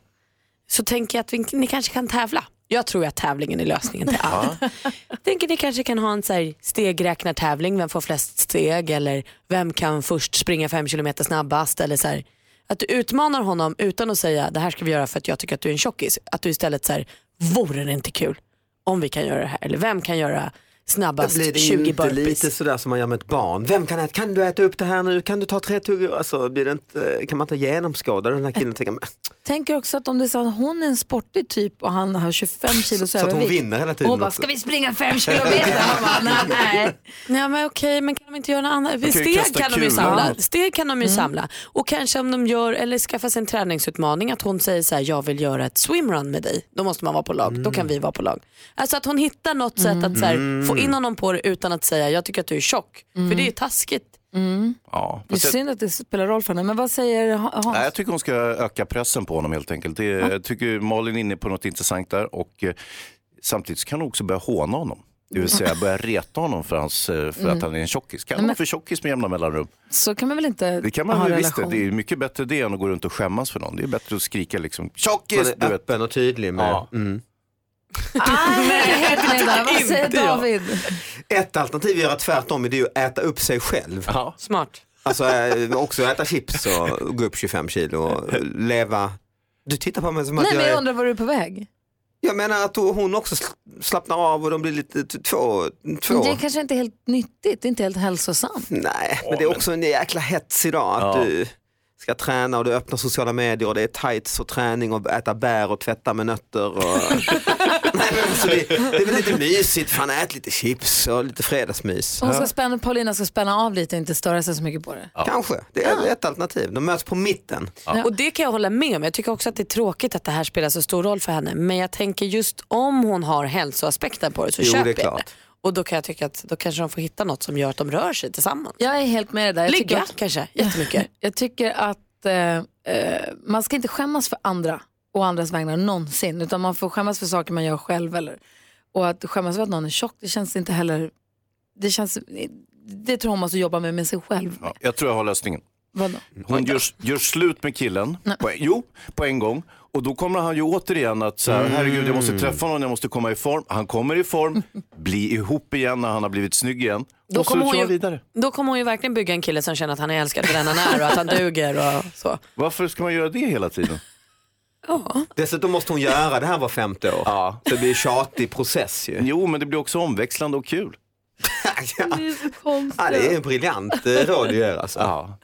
B: Så tänker jag att vi, ni kanske kan tävla. Jag tror att tävlingen är lösningen till allt. Jag tänker ni kanske kan ha en så här stegräknartävling. Vem får flest steg? Eller vem kan först springa fem kilometer snabbast? Eller så här, att du utmanar honom utan att säga det här ska vi göra för att jag tycker att du är en tjockis. Att du istället så här, vore det inte kul om vi kan göra det här? Eller vem kan göra snabbast
S: blir det
B: 20
S: inte
B: burpees?
S: lite sådär som man gör med ett barn. Vem kan, äta, kan du äta upp det här nu? Kan du ta tre tuggor? Alltså, blir det inte, kan man inte genomskåda den här killen? och Tänka, men,
A: Tänker också att om det är så att hon är en sportig typ och han har 25 kilos
S: Så att hon
A: övervikt.
S: vinner hela tiden
A: Och hon bara,
S: också.
A: ska vi springa 5 kilometer? Han bara, nej.
B: Nej men okej, men kan de inte göra något annat?
A: Okej,
B: Steg
A: kasta
B: kan de ju
A: kulor.
B: samla.
A: Ja.
B: Steg kan de ju
A: Mm.
B: samla. Och kanske om de gör, eller skaffar sig en träningsutmaning, att hon säger så här, jag vill göra ett swimrun med dig. Då måste man vara på lag, då kan vi vara på lag. Alltså att hon hittar något sätt att så här,
C: Mm.
B: få in honom på det utan att säga, jag tycker att du är tjock.
A: Mm.
B: För det är ju taskigt.
C: Ja,
A: Det är synd att det spelar roll för henne, men vad säger Ha- Hans?
C: Nej, jag tycker hon ska öka pressen på honom helt enkelt. Det, Jag tycker Malin är inne på något intressant där och eh, samtidigt så kan hon också börja håna honom. Det vill säga börja reta honom för, hans, eh, för
A: Mm.
C: att han är en tjockis. Kan
A: Nej,
C: han vara
A: men-
C: för tjockis med jämna mellanrum?
A: Så kan man väl inte
C: Det kan man
A: ha
C: väl
A: en
C: visst det.
A: relation?
C: Det är mycket bättre det än att gå runt och skämmas för någon. Det är bättre att skrika liksom
S: Man
C: tjockis.
S: är öppen och tydlig med. Mm.
A: Nej, Hedda, vad säger
S: Inte jag.
A: David?
S: Ett alternativ att göra tvärtom är det ju att äta upp sig själv.
B: Smart.
S: Alltså eh, också äta chips och gå upp 25 kilo och leva. Du tittar på mig som att
A: Nej,
S: jag
A: men jag
S: är...
A: undrar var du är på väg.
S: Jag menar att hon också sl- slappnar av och de blir lite t- två. två.
A: Det är kanske inte helt nyttigt, det är inte helt hälsosamt.
S: Nej, men det är också en jäkla hets idag att
A: Ja.
S: du ska träna och du öppnar sociala medier och det är tights och träning och äta bär och tvätta med nötter. Och... Nej, men alltså det, det är väl lite mysigt, fan ät lite chips och lite fredagsmys.
A: Hon ska spänna, Paulina ska spänna av lite och inte störa sig så mycket på det.
S: Kanske, det är ett alternativ. De möts på mitten.
B: Och det kan jag hålla med om. Jag tycker också att det är tråkigt att det här spelar så stor roll för henne. Men jag tänker just om hon har hälsoaspekten på det så
S: Jo,
B: köper
S: det är
B: jag det.
S: klart.
B: Och då kan jag tycka att då kanske de får hitta något som gör att de rör sig tillsammans.
A: Jag är helt med dig där. Jag
B: Ligga
A: tycker att-
B: kanske, jättemycket.
A: Jag tycker att eh, eh, man ska inte skämmas för andra och andras vägnar någonsin. Utan man får skämmas för saker man gör själv. Eller, och att skämmas för att någon är tjock, det känns inte heller... Det, känns, det tror jag hon måste jobba med med sig själv.
C: Ja, jag tror jag har lösningen.
A: Vadå?
C: Hon gör, gör slut med killen, på, en- jo, på en gång. Och då kommer han ju återigen att
S: Mm.
C: så här, herregud jag måste träffa någon, jag måste komma i form. Han kommer i form, blir ihop igen när han har blivit snygg igen.
B: Då
C: och så
B: kommer, hon
C: kör vi-
B: ju, då kommer hon ju verkligen bygga en kille som känner att han är älskad för den han är och att han duger och så.
C: Varför ska man göra det hela tiden?
S: Dessutom måste hon göra det här var femte år. Ja. Det blir en tjatig process ju.
C: Jo, men det blir också omväxlande och kul.
A: Det är så konstigt.
S: Ja, det är en briljant eh, råd du ger alltså.
C: Ja.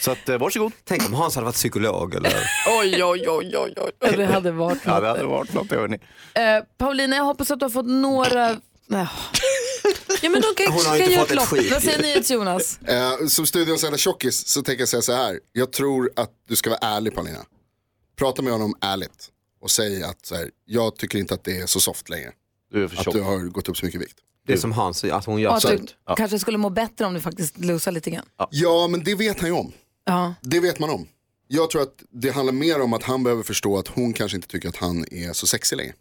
C: Så att, eh, varsågod.
S: Tänk om Hans hade varit psykolog eller?
B: Oj, oj, oj, oj, oj.
A: Ja, det hade varit
C: Ja, det hade varit något hörni.
A: Eh, Paulina, jag hoppas att du har fått några... Nej. Ja, men de kan,
P: Hon har
A: kan
P: inte
A: göra
P: fått ett
A: lopp.
P: skit.
A: Vad säger ni Jonas?
P: Eh, som studions enda tjockis så tänker jag säga så här. Jag tror att du ska vara ärlig Paulina. Prata med honom ärligt och säg att så här, jag tycker inte att det är så soft längre.
C: Du är för
P: att du har gått upp så mycket i vikt.
S: Det är som Hans, att hon
A: Och att du typ, kanske skulle må bättre om du faktiskt losar lite grann.
P: Ja, men det vet han ju om.
A: Ja.
P: Det vet man om. Jag tror att det handlar mer om att han behöver förstå att hon kanske inte tycker att han är så sexig längre.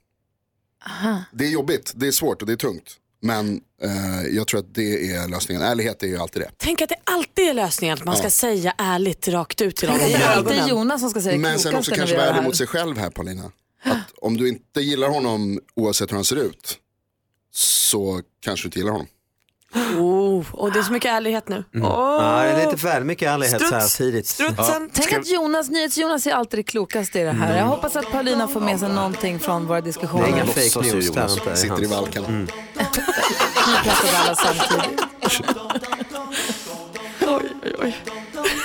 P: Det är jobbigt, det är svårt och det är tungt. Men eh, jag tror att det är lösningen. Ärlighet är ju alltid det.
B: Tänk att det alltid är lösningen att man ska
P: Ja.
B: säga ärligt rakt ut till någon
A: Det
B: i
A: är alltid
B: ögonen.
A: Jonas som ska säga det
P: Men sen
A: klokaste
P: också
A: när
P: kanske
A: vi
P: vara
A: gör det
P: ärlig
A: här.
P: mot sig själv här Paulina. Att om du inte gillar honom oavsett hur han ser ut så kanske du inte gillar honom.
B: Oh, och det är så mycket ärlighet nu.
S: Mm. Ja, det är lite väl mycket ärlighet så här
B: Struts.
S: tidigt.
A: Strutsen. Tänk att Jonas, NyhetsJonas är alltid det klokaste i det här. Jag hoppas att Paulina får med sig någonting från våra diskussioner.
S: Mm. Det är inga fake news där inte, Hans. Mm.
P: Sitter i valkan.
A: Nu pratar vi alla samtidigt.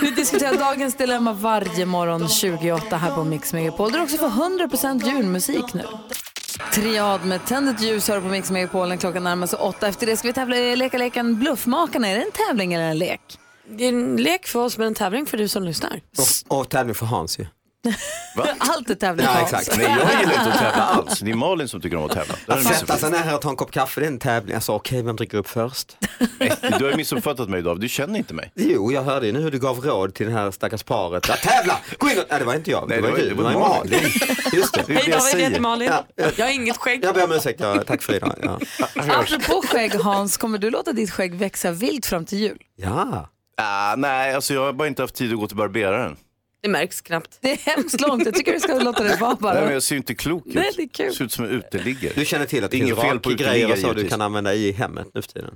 A: Vi diskuterar dagens dilemma varje morgon 28 här på Mix Megapol. Där du också får 100% julmusik nu. Triad med tändet ljus hör på Mix Megapolen. Klockan närmar sig åtta. Efter det ska vi tävla i Leka leken Bluffmakarna. Är det en tävling eller en lek?
B: Det är en lek för oss men en tävling för du som lyssnar.
S: Och, och tävling för Hans ju.
A: Allt är tävling.
S: Ja, exakt.
C: Nej, jag gillar inte att tävla alls. Det är Malin som tycker om att tävla. Det har
S: Att
C: du
S: sätta sig
C: missuppfattat.
S: ner här och ta en kopp kaffe, det är en tävling. Alltså okej, vem dricker upp först?
C: Du har ju missuppfattat mig David, du känner inte mig.
S: Jo, jag hörde ju nu hur du gav råd till det här stackars paret. Att tävla! Gå in och... Nej, det var inte jag.
C: Nej,
S: det var
C: det
S: du.
C: var-
S: Det
C: det var
S: var ju
C: Malin.
S: Malin. Just det.
C: Hej, David, jag heter
B: Malin.
S: jag har
B: inget skägg.
S: Jag ber om ursäkt. Ja, tack för idag. Ja.
A: Apropå skägg Hans, kommer du låta ditt skägg växa vilt fram till jul?
S: Ja.
C: Ah, nej, alltså jag har bara inte haft tid att gå till barberaren.
B: Det märks knappt.
A: Det är hemskt långt. Jag tycker du ska låta det vara
C: Nej,
A: bara.
C: men jag ser ju inte klok ut.
A: Nej, det är kul.
C: Jag ser ut som en uteliggare.
S: Du känner till att det
C: Inget
S: finns
C: fel på
S: rakgrejer och så du
C: givetvis.
S: kan använda i hemmet nu för tiden.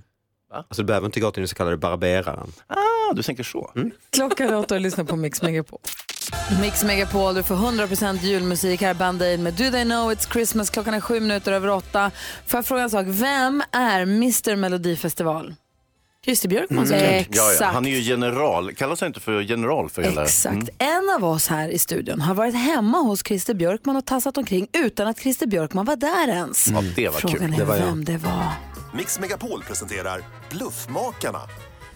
S: Alltså du behöver inte gå till den så kallade Mm. barberaren.
C: Ah, du tänker så.
A: Klockan är åtta och lyssna på Mix Megapol. Mix Megapol, du får 100% julmusik här, Band Aid med Do They Know It's Christmas. Klockan är sju minuter över åtta. Får jag fråga en sak? Vem är Mr Melodifestival?
B: Christer
A: Björkman Mm. Exakt.
C: Ja, ja. Han är ju general. Kallas han inte för general för hela...
A: Exakt.
C: Mm.
A: En av oss här i studion har varit hemma hos Christer Björkman och tassat omkring utan att Christer Björkman var där ens.
C: Ja, det var
A: Frågan
C: kul.
A: är
C: Det var jag.
A: vem det var.
N: Mix Megapol presenterar Bluffmakarna.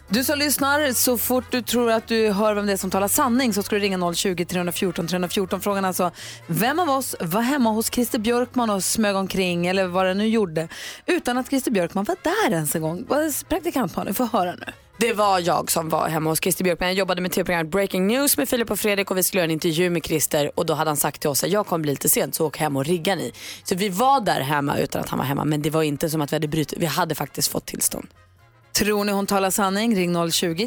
A: Du som lyssnar, så fort du tror att du hör vem det är som talar sanning så ska du ringa 020-314 314. Frågan är alltså, vem av oss var hemma hos Christer Björkman och smög omkring eller vad det nu gjorde utan att Christer Björkman var där ens en gång? Vad är Praktikant Malin, få höra nu.
B: Det var jag som var hemma hos Christer Björkman. Jag jobbade med tv-programmet Breaking News med Filip och Fredrik och vi skulle göra en intervju med Christer och då hade han sagt till oss att jag kommer bli lite sent så åk hem och rigga ni. Så vi var där hemma utan att han var hemma men det var inte som att vi hade brutit, vi hade faktiskt fått tillstånd.
A: Tror ni hon talar sanning? Ring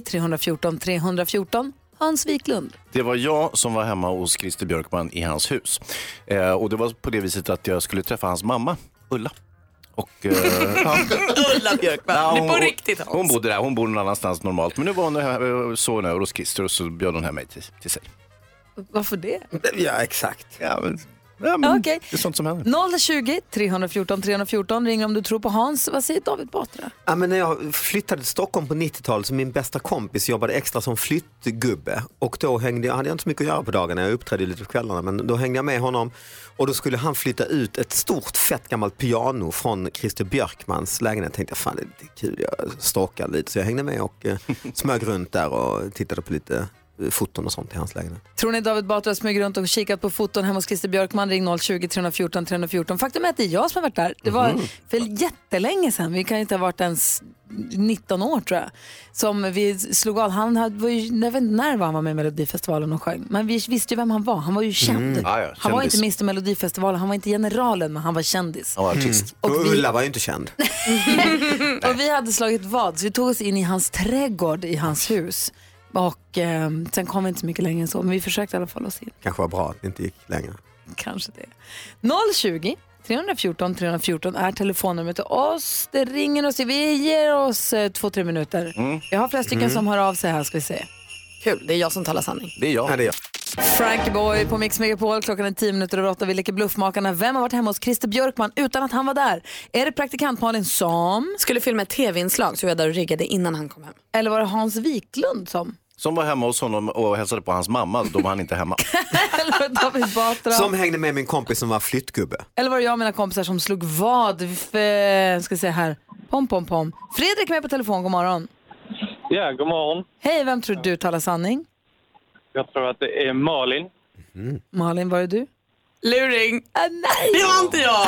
A: 020-314 314. Hans Wiklund.
C: Det var jag som var hemma hos Christer Björkman i hans hus. Eh, och det var på det viset att jag skulle träffa hans mamma, Ulla. Och, eh, ja.
B: Ulla Björkman,
C: Ja,
B: det är på
C: hon-
B: riktigt Hans.
C: Hon bodde där, hon bor någon annanstans normalt. Men nu var hon här, och såg henne hos Christer och så bjöd hon hem mig till, till sig.
A: Varför det?
C: Ja, exakt. Ja, men, ja,
A: Ja,
C: men,
A: okej.
C: Det är sånt som händer.
A: 020 314 314. Ring om du tror på Hans. Vad säger David Batra?
S: Ja, men när jag flyttade till Stockholm på 90-talet så min bästa kompis jobbade extra som flyttgubbe och då hängde jag, hade jag inte så mycket att göra på dagarna, jag uppträdde lite på kvällarna men då hängde jag med honom och då skulle han flytta ut ett stort fett gammalt piano från Christer Björkmans lägenhet. tänkte jag fan det är lite kul, jag stalkade lite så jag hängde med och eh, smög runt där och tittade på lite eh, foton och sånt i hans lägenhet.
A: Tror ni David Batra smyger runt och kikat på foton hemma hos Christer Björkman? Ring 020 314 314. Faktum är att det är jag som har varit där. Det var
M: Mhm.
A: för jättelänge sedan. Vi kan ju inte ha varit ens 19 år tror jag. Som vi slog av. Han hade- var ju, jag vet inte när var han var med i Melodifestivalen och sjöng. Men vi visste ju vem han var. Han var ju känd.
S: Mm. Ja, ja,
A: han var
S: kändis.
A: inte minst i Melodifestivalen. Han var inte generalen men han var kändis.
S: Han var artist. Mm. Och Ulla var ju inte känd.
A: Och vi hade slagit vad, så vi tog oss in i hans trädgård i hans hus. Och eh, sen kom vi inte så mycket längre än så, men vi försökte i alla fall oss in.
S: Kanske var bra att det inte gick längre.
A: Kanske det. 020 314 314 är telefonnumret till oss. Det ringer oss, vi ger oss eh, två, tre minuter. Jag har flera stycken
S: Mm.
A: som hör av sig här, ska vi se.
B: Kul, det är jag som talar sanning.
C: Det är jag.
S: Ja, det är jag.
A: Frankie Boy på Mix Megapol. Klockan är 10 minuter över åtta. Vi leker Bluffmakarna. Vem har varit hemma hos Christer Björkman utan att han var där? Är det praktikant Malin som?
B: Skulle filma ett tv-inslag så var jag där och riggade innan han kom hem.
A: Eller var det Hans Wiklund som?
C: Som var hemma hos honom och hälsade på hans mamma, då var han inte hemma.
A: Eller var det David Batra?
S: Som hängde med min kompis som var flyttgubbe.
A: Eller var det jag och mina kompisar som slog vad? För, ska jag säga här. Pom, pom, pom. Fredrik är med på telefon. God morgon.
U: Ja, god morgon.
A: Hej, vem tror du talar sanning?
U: Jag tror att det är Malin.
A: Malin, var det du?
B: Luring!
A: Ah, nej!
B: Det var inte jag!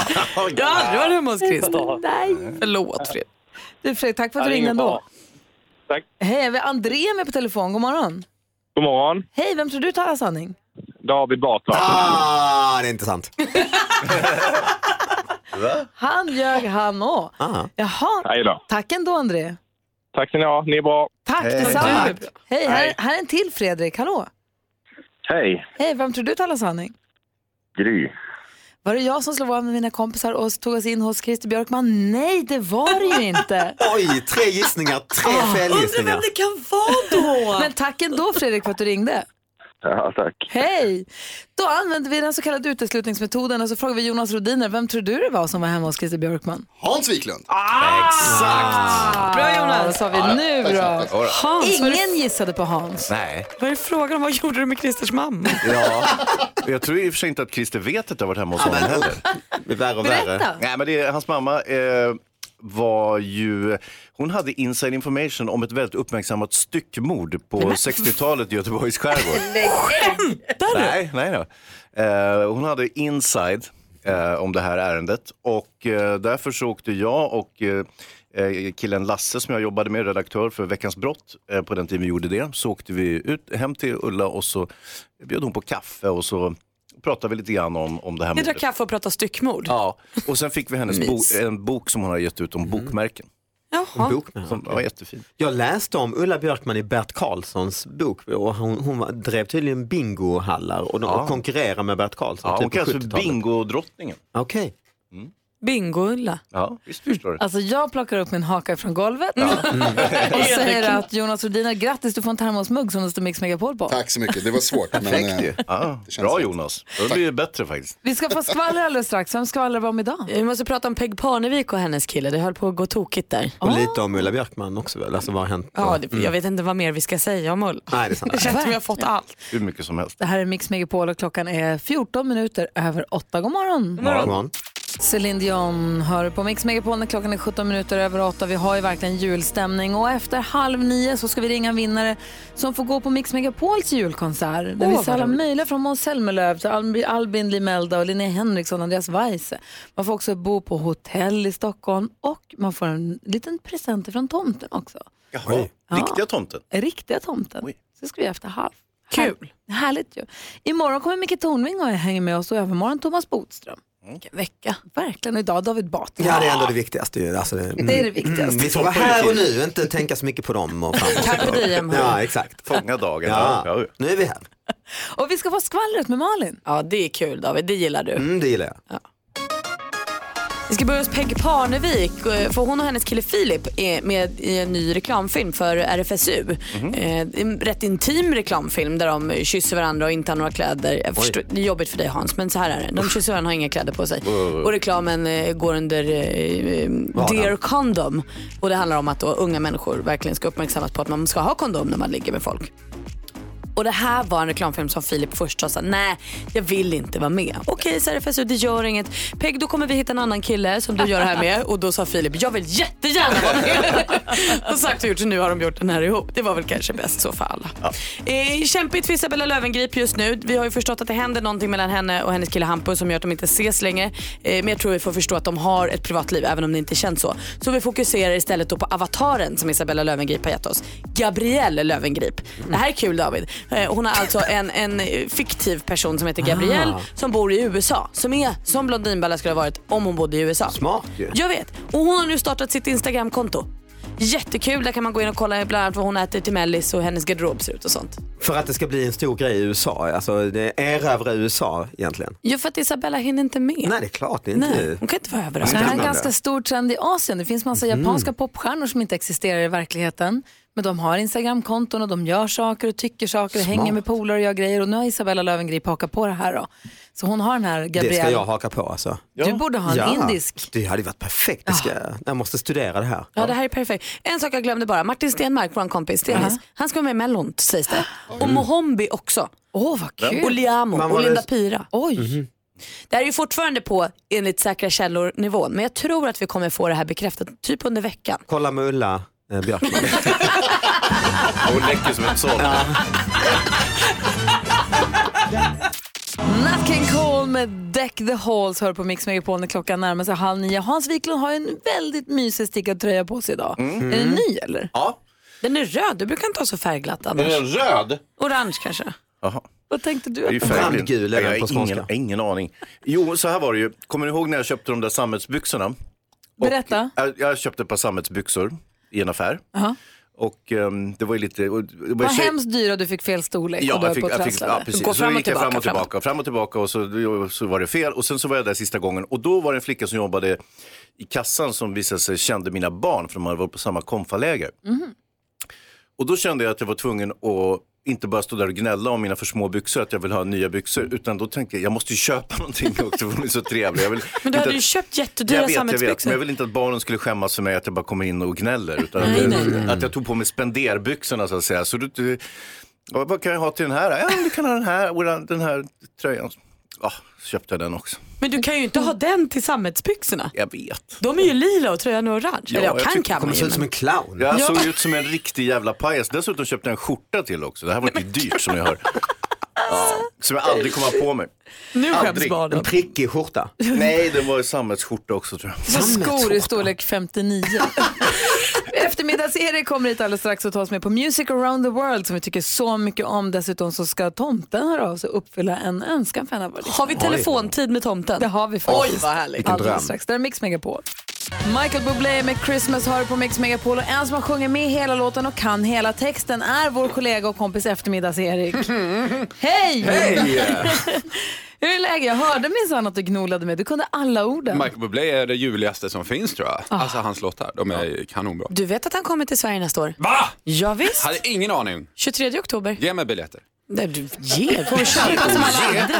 B: Jag har aldrig varit hemma hos Christer.
A: Nej.
B: Förlåt Fred.
A: Du Fredrik, tack för att du
B: Ja, det är
A: ringde
B: ingen
A: ändå.
B: fara.
U: Tack.
A: Hej, vi har André med på telefon. God morgon.
U: God morgon.
A: Hej, vem tror du talar sanning?
U: David Batra.
S: Ah, det är inte sant.
A: Han ljög han också. Jaha.
U: Hej då.
A: Tack ändå André.
U: Tack ska ni ha. Ni är bra.
A: Tack detsamma. Hej, här, här är en till Fredrik. Hallå.
U: Hej.
A: Hej, vem tror du talar sanning?
U: Gry.
A: Var det jag som slog av med mina kompisar och tog oss in hos Christer Björkman? Nej, det var det ju inte.
S: Oj, tre gissningar, tre
B: Ah,
S: felgissningar.
A: kan vara då? Men tack ändå Fredrik för att du ringde.
U: Ja, tack.
A: Hej! Då använder vi den så kallade uteslutningsmetoden och så frågar vi Jonas Rodiner, vem tror du det var som var hemma hos Christer Björkman?
P: Hans Wiklund.
C: Exakt!
A: Ah! Bra Jonas! sa vi
C: Ja,
A: nu
C: tack,
A: då.
C: tack, tack.
B: Hans, var det-
A: Ingen gissade på Hans.
C: Nej.
B: Vad är frågan om? Vad gjorde du med Christers mamma?
C: Ja. Jag tror i och för sig inte att Christer vet att jag har varit hemma hos honom heller.
S: Det är värre och
B: värre. Berätta.
C: Nej, men det, är- hans mamma eh, var ju... Hon hade inside information om ett väldigt uppmärksammat styckmord på 60-talet i Göteborgs skärgård. Nej, nej då. Eh, hon hade inside eh, om det här ärendet och eh, därför så åkte jag och eh, eh, killen Lasse som jag jobbade med, redaktör för Veckans brott, eh, på den tiden vi gjorde det, så åkte vi ut hem till Ulla och så bjöd hon på kaffe och så pratade vi lite grann om, om det här
B: Vi drack
C: mordet.
B: kaffe och pratade styckmord.
C: Ja, och sen fick vi hennes bo,
B: Mys.
C: en bok som hon hade gett ut om bokmärken.
B: Jaha.
C: Som var jättefin.
S: Mm. Jag läste om Ulla Björkman i Bert Karlssons bok och hon, hon var- drev tydligen bingohallar och, de- och konkurrerade med Bert Karlsson.
C: Ah. Ja,
S: typ
C: hon
S: på
C: kallas för
S: 70-talet.
C: Bingodrottningen.
S: Okej.
A: Bingo-Ulla.
C: Ja, visst förstår du.
A: Alltså jag plockar upp min haka från golvet
P: Mm.
A: och säger att Jonas Rodiner, grattis du får en termosmugg som det står Mix Megapol på.
P: Tack så mycket, det var svårt. Men,
C: Perfekt
P: eh,
C: ju. Ja, bra Jonas, då blir det bättre faktiskt.
A: Vi ska få skvaller alldeles strax. Vem skvallrar vi om idag?
B: Vi måste prata om Peg Parnevik och hennes kille. Det höll på att gå tokigt där.
S: Och lite om Ulla Björkman också väl? Alltså vad har hänt?
B: Ja,
S: Och-
B: det, jag vet inte vad mer vi ska säga om Ulla.
S: Nej, det är sant.
B: Det känns som jag har fått allt.
C: Hur mycket som helst.
A: Det här är Mix Megapol och klockan är 14 minuter över 8. God morgon!
S: God morgon. God morgon.
A: Céline Dion hör på Mix Megapol när klockan är 17 minuter över 8. Vi har ju verkligen julstämning och efter halv nio så ska vi ringa en vinnare som får gå på Mix Megapols julkonsert. Där
B: Åh,
A: vi
B: vad
A: ser alla
B: roligt.
A: möjliga från Måns Zelmerlöw till Al- Albin Limelda och Linnea Henriksson och Andreas Weise. Man får också bo på hotell i Stockholm och man får en liten present från tomten också.
C: Jaha. Riktiga tomten.
A: Riktiga tomten. Så ska vi göra efter halv. Kul. härligt ju. Imorgon kommer Micke Tornving och hänger med oss och i övermorgon Thomas Bodström. Vilken vecka. Verkligen. Och idag David Batra.
S: Mm. Ja, det är ändå det viktigaste. ju. Alltså, mm.
A: Det är det viktigaste.
S: Mm, Vi ska vara här och nu, inte tänka så mycket på dem. Och framåt.
A: Carpe diem.
S: Ja, exakt.
C: Fånga dagen.
S: Ja. Nu är vi här.
A: Och vi ska få skvallret med Malin.
B: Ja, det är kul David. Det gillar du.
S: Mm, det gillar jag.
B: Vi ska börja hos Peggy Parnevik eh, för hon och hennes kille Filip är med i en ny reklamfilm för RFSU.
S: Mhm.
B: Eh, det är En rätt intim reklamfilm där de kysser varandra och inte har några kläder. Jag förstår, det är jobbigt för dig Hans men så här är det. De kysser varandra och har inga kläder på sig. Och reklamen eh, går under eh, eh, Dear Condom. Och det handlar om att då unga människor verkligen ska uppmärksammas på att man ska ha kondom när man ligger med folk. Och det här var en reklamfilm som Filip först sa så här, nej jag vill inte vara med. Okej sa RFSU, det gör inget. Peg då kommer vi hitta en annan kille som du gör det här med. Och då sa Filip, jag vill jättegärna vara med. och sagt och gjort, så nu har de gjort den här ihop. Det var väl kanske bäst så för alla. Eh, kämpigt för Isabella Löwengrip just nu. Vi har ju förstått att det händer någonting mellan henne och hennes kille Hampus som gör att de inte ses längre. Eh, men jag tror vi får förstå att de har ett privatliv även om det inte känns så. Så vi fokuserar istället då på avataren som Isabella Löwengrip har gett oss. Gabrielle Löwengrip. Det här är kul David. Eh, hon har alltså en, en fiktiv person som heter Gabrielle
S: Ah.
B: som bor i USA. Som är som Blondinbella skulle ha varit om hon bodde i USA.
S: Smart ju.
B: Jag vet. Och hon har nu startat sitt Instagramkonto. Jättekul, där kan man gå in och kolla bland annat vad hon äter till mellis och hur hennes garderob ser ut och sånt.
S: För att det ska bli en stor grej i USA, alltså det erövra USA egentligen.
B: Jo för att Isabella hinner inte med.
S: Nej, det är klart. Det är inte...
B: Nej, hon kan inte vara överallt.
A: Det här är en
S: Spännande. Mhm.
A: ganska stor trend i Asien. Det finns massa japanska popstjärnor som inte existerar i verkligheten. Men de har Instagramkonton och de gör saker och tycker saker och
S: Smart.
A: hänger med polare och gör grejer. Och nu har Isabella Löwengrip hakat på det här då. Så hon har den här Gabrielle.
S: Det ska jag haka på alltså.
A: Du borde ha en indisk.
S: Det hade varit perfekt. Det ska... Jag måste studera det här.
B: Ja, det här är perfekt. En sak jag glömde bara. Martin Stenmark, vår kompis, Stenis, han ska vara med i Mellon sägs det. Och Mohombi också.
A: Mm. Åh, oh, vad
S: kul.
B: Och Liamo
S: Man
B: och
S: var
B: Linda
S: väl-
B: Pira.
A: Oj.
B: Det här är ju fortfarande på enligt säkra källor nivån, men jag tror att vi kommer få det här bekräftat typ under veckan.
S: Kolla med Ulla eh, Björkman.
C: Hon läcker som ett såll.
A: Nat King Cole med Deck the Halls hör på Mix Megapol när klockan närmar sig halv nio. Hans Wiklund har ju en väldigt mysig stickad tröja på sig idag.
C: Mm.
A: Är den ny eller?
C: Ja.
B: Den är röd, du brukar inte ha så färgglatt annars.
C: Är den röd?
B: Orange kanske.
C: Jaha.
A: Vad tänkte du?
C: Det är ju
A: att den var?
C: färgblind.
S: är
C: Jag
S: den
C: har
S: på skånska.
C: ingen, ingen aning. Jo, så här var det ju. Kommer ni ihåg när jag köpte de där sammetsbyxorna?
A: Berätta.
C: Jag, jag köpte ett par sammetsbyxor i en affär.
A: Jaha.
C: Och ehm, det var ju lite... Och, det var
A: Vad
C: ju tjej-
A: hemskt dyra du fick fel storlek och
C: Ja,
A: du höll
C: jag fick,
A: på att
C: jag fick,
A: trassla
C: ja,
A: dig.
C: precis. Så gick jag fram och tillbaka, fram och tillbaka och så, så var det fel. Och sen så var jag där sista gången och då var det en flicka som jobbade i kassan som visade sig kände mina barn för de hade varit på samma konfaläger.
E: Mhm.
C: Och då kände jag att jag var tvungen att inte bara stå där och gnälla om mina för små byxor, att jag vill ha nya
B: Mm.
C: byxor, utan då tänkte jag jag måste ju köpa någonting också för de är så trevliga. Jag vill
B: Men du
C: inte
B: hade
C: att-
B: ju köpt jättedyra
C: jag vet, jag vet,
B: sammetsbyxor.
C: men jag vill inte att barnen skulle skämmas för mig att jag bara kommer in och gnäller. Utan att, att jag tog på mig spenderbyxorna så att säga. Så du, du, ja, vad kan jag ha till den här? Ja, du kan ha den här och den- den här tröjan. Ja, så köpte jag den också.
B: Men du kan ju inte ha den till sammetsbyxorna.
C: Mm. Jag vet.
B: De är ju lila och tröjan är orange. Eller jag, kan kan man ju, men-
S: clown.
C: Jag
B: Ja.
C: såg ut som en riktig jävla pajas. Dessutom köpte jag en skjorta till också. Det här var ju dyrt som ni hör. Ja, som jag aldrig kommer ha på mig.
B: Nu
C: Aldrig.
S: En prickig skjorta.
C: Nej, det var ju sammetsskjorta också tror jag.
A: Så skor i storlek 59. Eftermiddags-Erik kommer hit alldeles strax och tar oss med på Music around the world som vi tycker så mycket om. Dessutom så ska tomten höra av sig och uppfylla en önskan för en av våra lyssnare.
B: Har vi telefontid med tomten?
A: Det har vi
B: Oj
A: faktiskt.
B: vad härligt.
A: Alldeles strax. Det är Mix Megapol. Michael Bublé med Christmas hör på Mix Megapol och en som har sjungit med hela låten och kan hela texten är vår kollega och kompis eftermiddags-Erik. Hej!
V: Hej!
A: Hur är läget? Jag hörde minsann att du gnolade med. Du kunde alla orden.
V: Michael Bublé är det ljuvligaste som finns tror jag. Alltså hans låtar, de är kanonbra.
B: Ah. Du vet att han kommer till Sverige nästa år?
V: Va?
B: Ja, visst.
V: Hade ingen aning.
B: 23 oktober.
V: Ge mig biljetter.
B: Nej, du ger. Får du köpa som alla andra?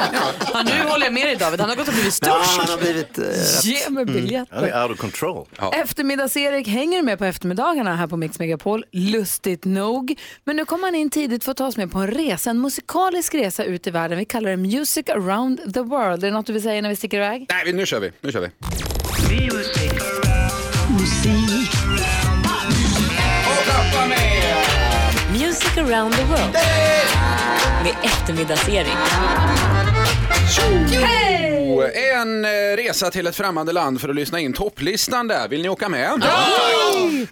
B: Ja, nu håller jag med dig David. Han har gått och blivit störst.
C: eh,
A: Ge
B: Mm.
A: mig biljetter.
C: Han Mm. är out of control.
A: Eftermiddags-Erik hänger med på eftermiddagarna här på Mix Megapol, lustigt nog. Men nu kommer han in tidigt för att ta oss med på en resa, en musikalisk resa ut i världen. Vi kallar det Music around the world. Är det något du vill säga innan vi sticker iväg?
V: Nej, vi- nu kör vi. Nu kör vi.
A: Musik.
B: Music around the world. Med eftermiddags-Erik.
E: Hej!
V: Jo, en eh, resa till ett främmande land för att lyssna in topplistan där. Vill ni åka med?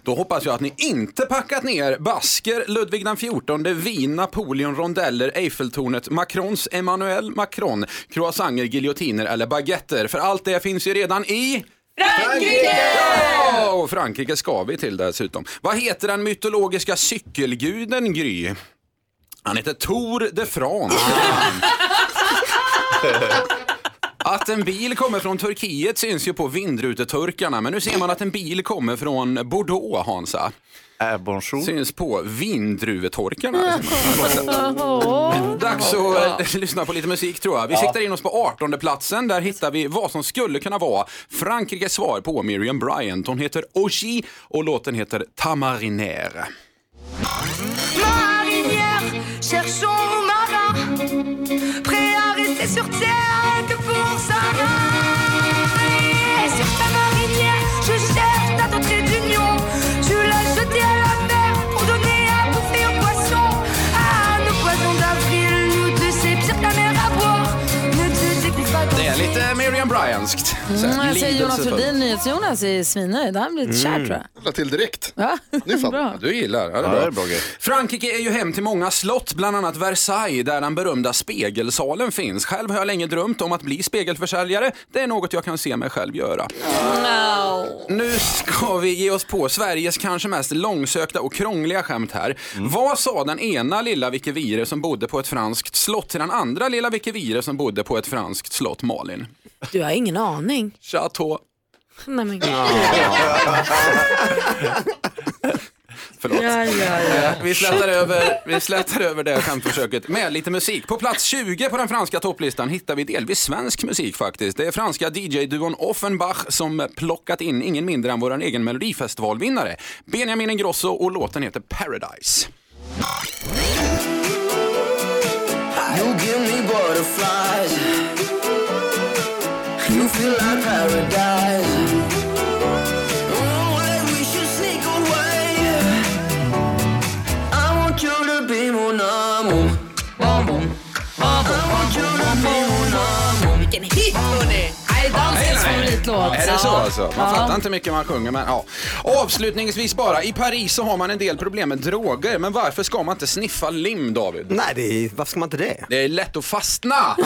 V: Då hoppas jag att ni inte packat ner Basker, Ludvig den 14, Wien, Napoleon, rondeller, Eiffeltornet, Macrons Emmanuel Macron, croissanter, giljotiner eller baguetter. För allt det finns ju redan i...
E: Frankrike!
V: Ja, och Frankrike ska vi till dessutom. Vad heter den mytologiska cykelguden Gry? Han heter Tour de France. Att en bil kommer från Turkiet syns ju på vindruteturkarna, men nu ser man att en bil kommer från Bordeaux, Hansa. Äh, bonjour. Syns på vindruvetorkarna. Dags att eh, lyssna på lite musik tror jag. Vi
D: Ja.
V: siktar in oss på 18 platsen. Där hittar vi vad som skulle kunna vara Frankrikes svar på Miriam Bryant. Hon heter Oji och låten heter Tamariner.
E: Marinière, cherchons nos marins, prêts à rester sur terre et que pour ça rien. Et sur ta marinière, je cherche ta trait d'union. Tu l'as jetée à la mer pour donner à bouffer aux poissons. Ah, nos poissons d'avril, nous deux, c'est pire que la mer à boire. Ne te découvre pas
V: Det är lite Miriam Bryantskt. Så här,
A: Mm, jag säger Jonas
V: lidelsefullt.
A: Rhodin, NyhetsJonas är svinnöjd. Han blir lite kär
P: Mm.
A: tror jag.
P: Jag la till direkt.
A: Ja,
P: Nu fattar
A: bra.
V: Du gillar, ja, det är
P: Ja,
V: bra.
P: det är bra grej.
V: Frankrike är ju hem till många slott, bland annat Versailles där den berömda spegelsalen finns. Själv har jag länge drömt om att bli spegelförsäljare. Det är något jag kan se mig själv göra. Nu ska vi ge oss på Sveriges kanske mest långsökta och krångliga skämt här. Vad sa den ena lilla Vicky Vire som bodde på ett franskt slott till den andra lilla Vicky Vire som bodde på ett franskt slott, Malin?
B: Du har ingen aning.
V: Chateau.
B: Nej, men...
V: Förlåt.
B: Ja, ja, ja.
V: Eh, Vi, slätar över, vi slätar över det skämtförsöket med lite musik. På plats 20 på den franska topplistan hittar vi delvis svensk musik faktiskt. Det är franska DJ-duon Offenbach som plockat in ingen mindre än vår egen melodifestivalvinnare Benjamin Ingrosso och låten heter Paradise.
E: You give me butterflies. You feel like paradise. Oh, wait, we should sneak away. I want you to be mon amour. Mon, mon, mon, I want you to be mon amour. Vilken hit hörni!
A: Nej, dansens
V: Nej, nej.
A: favoritlåt.
V: Är det så alltså? Man
A: Ja.
V: fattar inte mycket man sjunger men ja. Avslutningsvis bara, i Paris så har man en del problem med droger men varför ska man inte sniffa lim David?
S: Nej, det är, varför ska man inte det? Ah.
V: Det är lätt att fastna!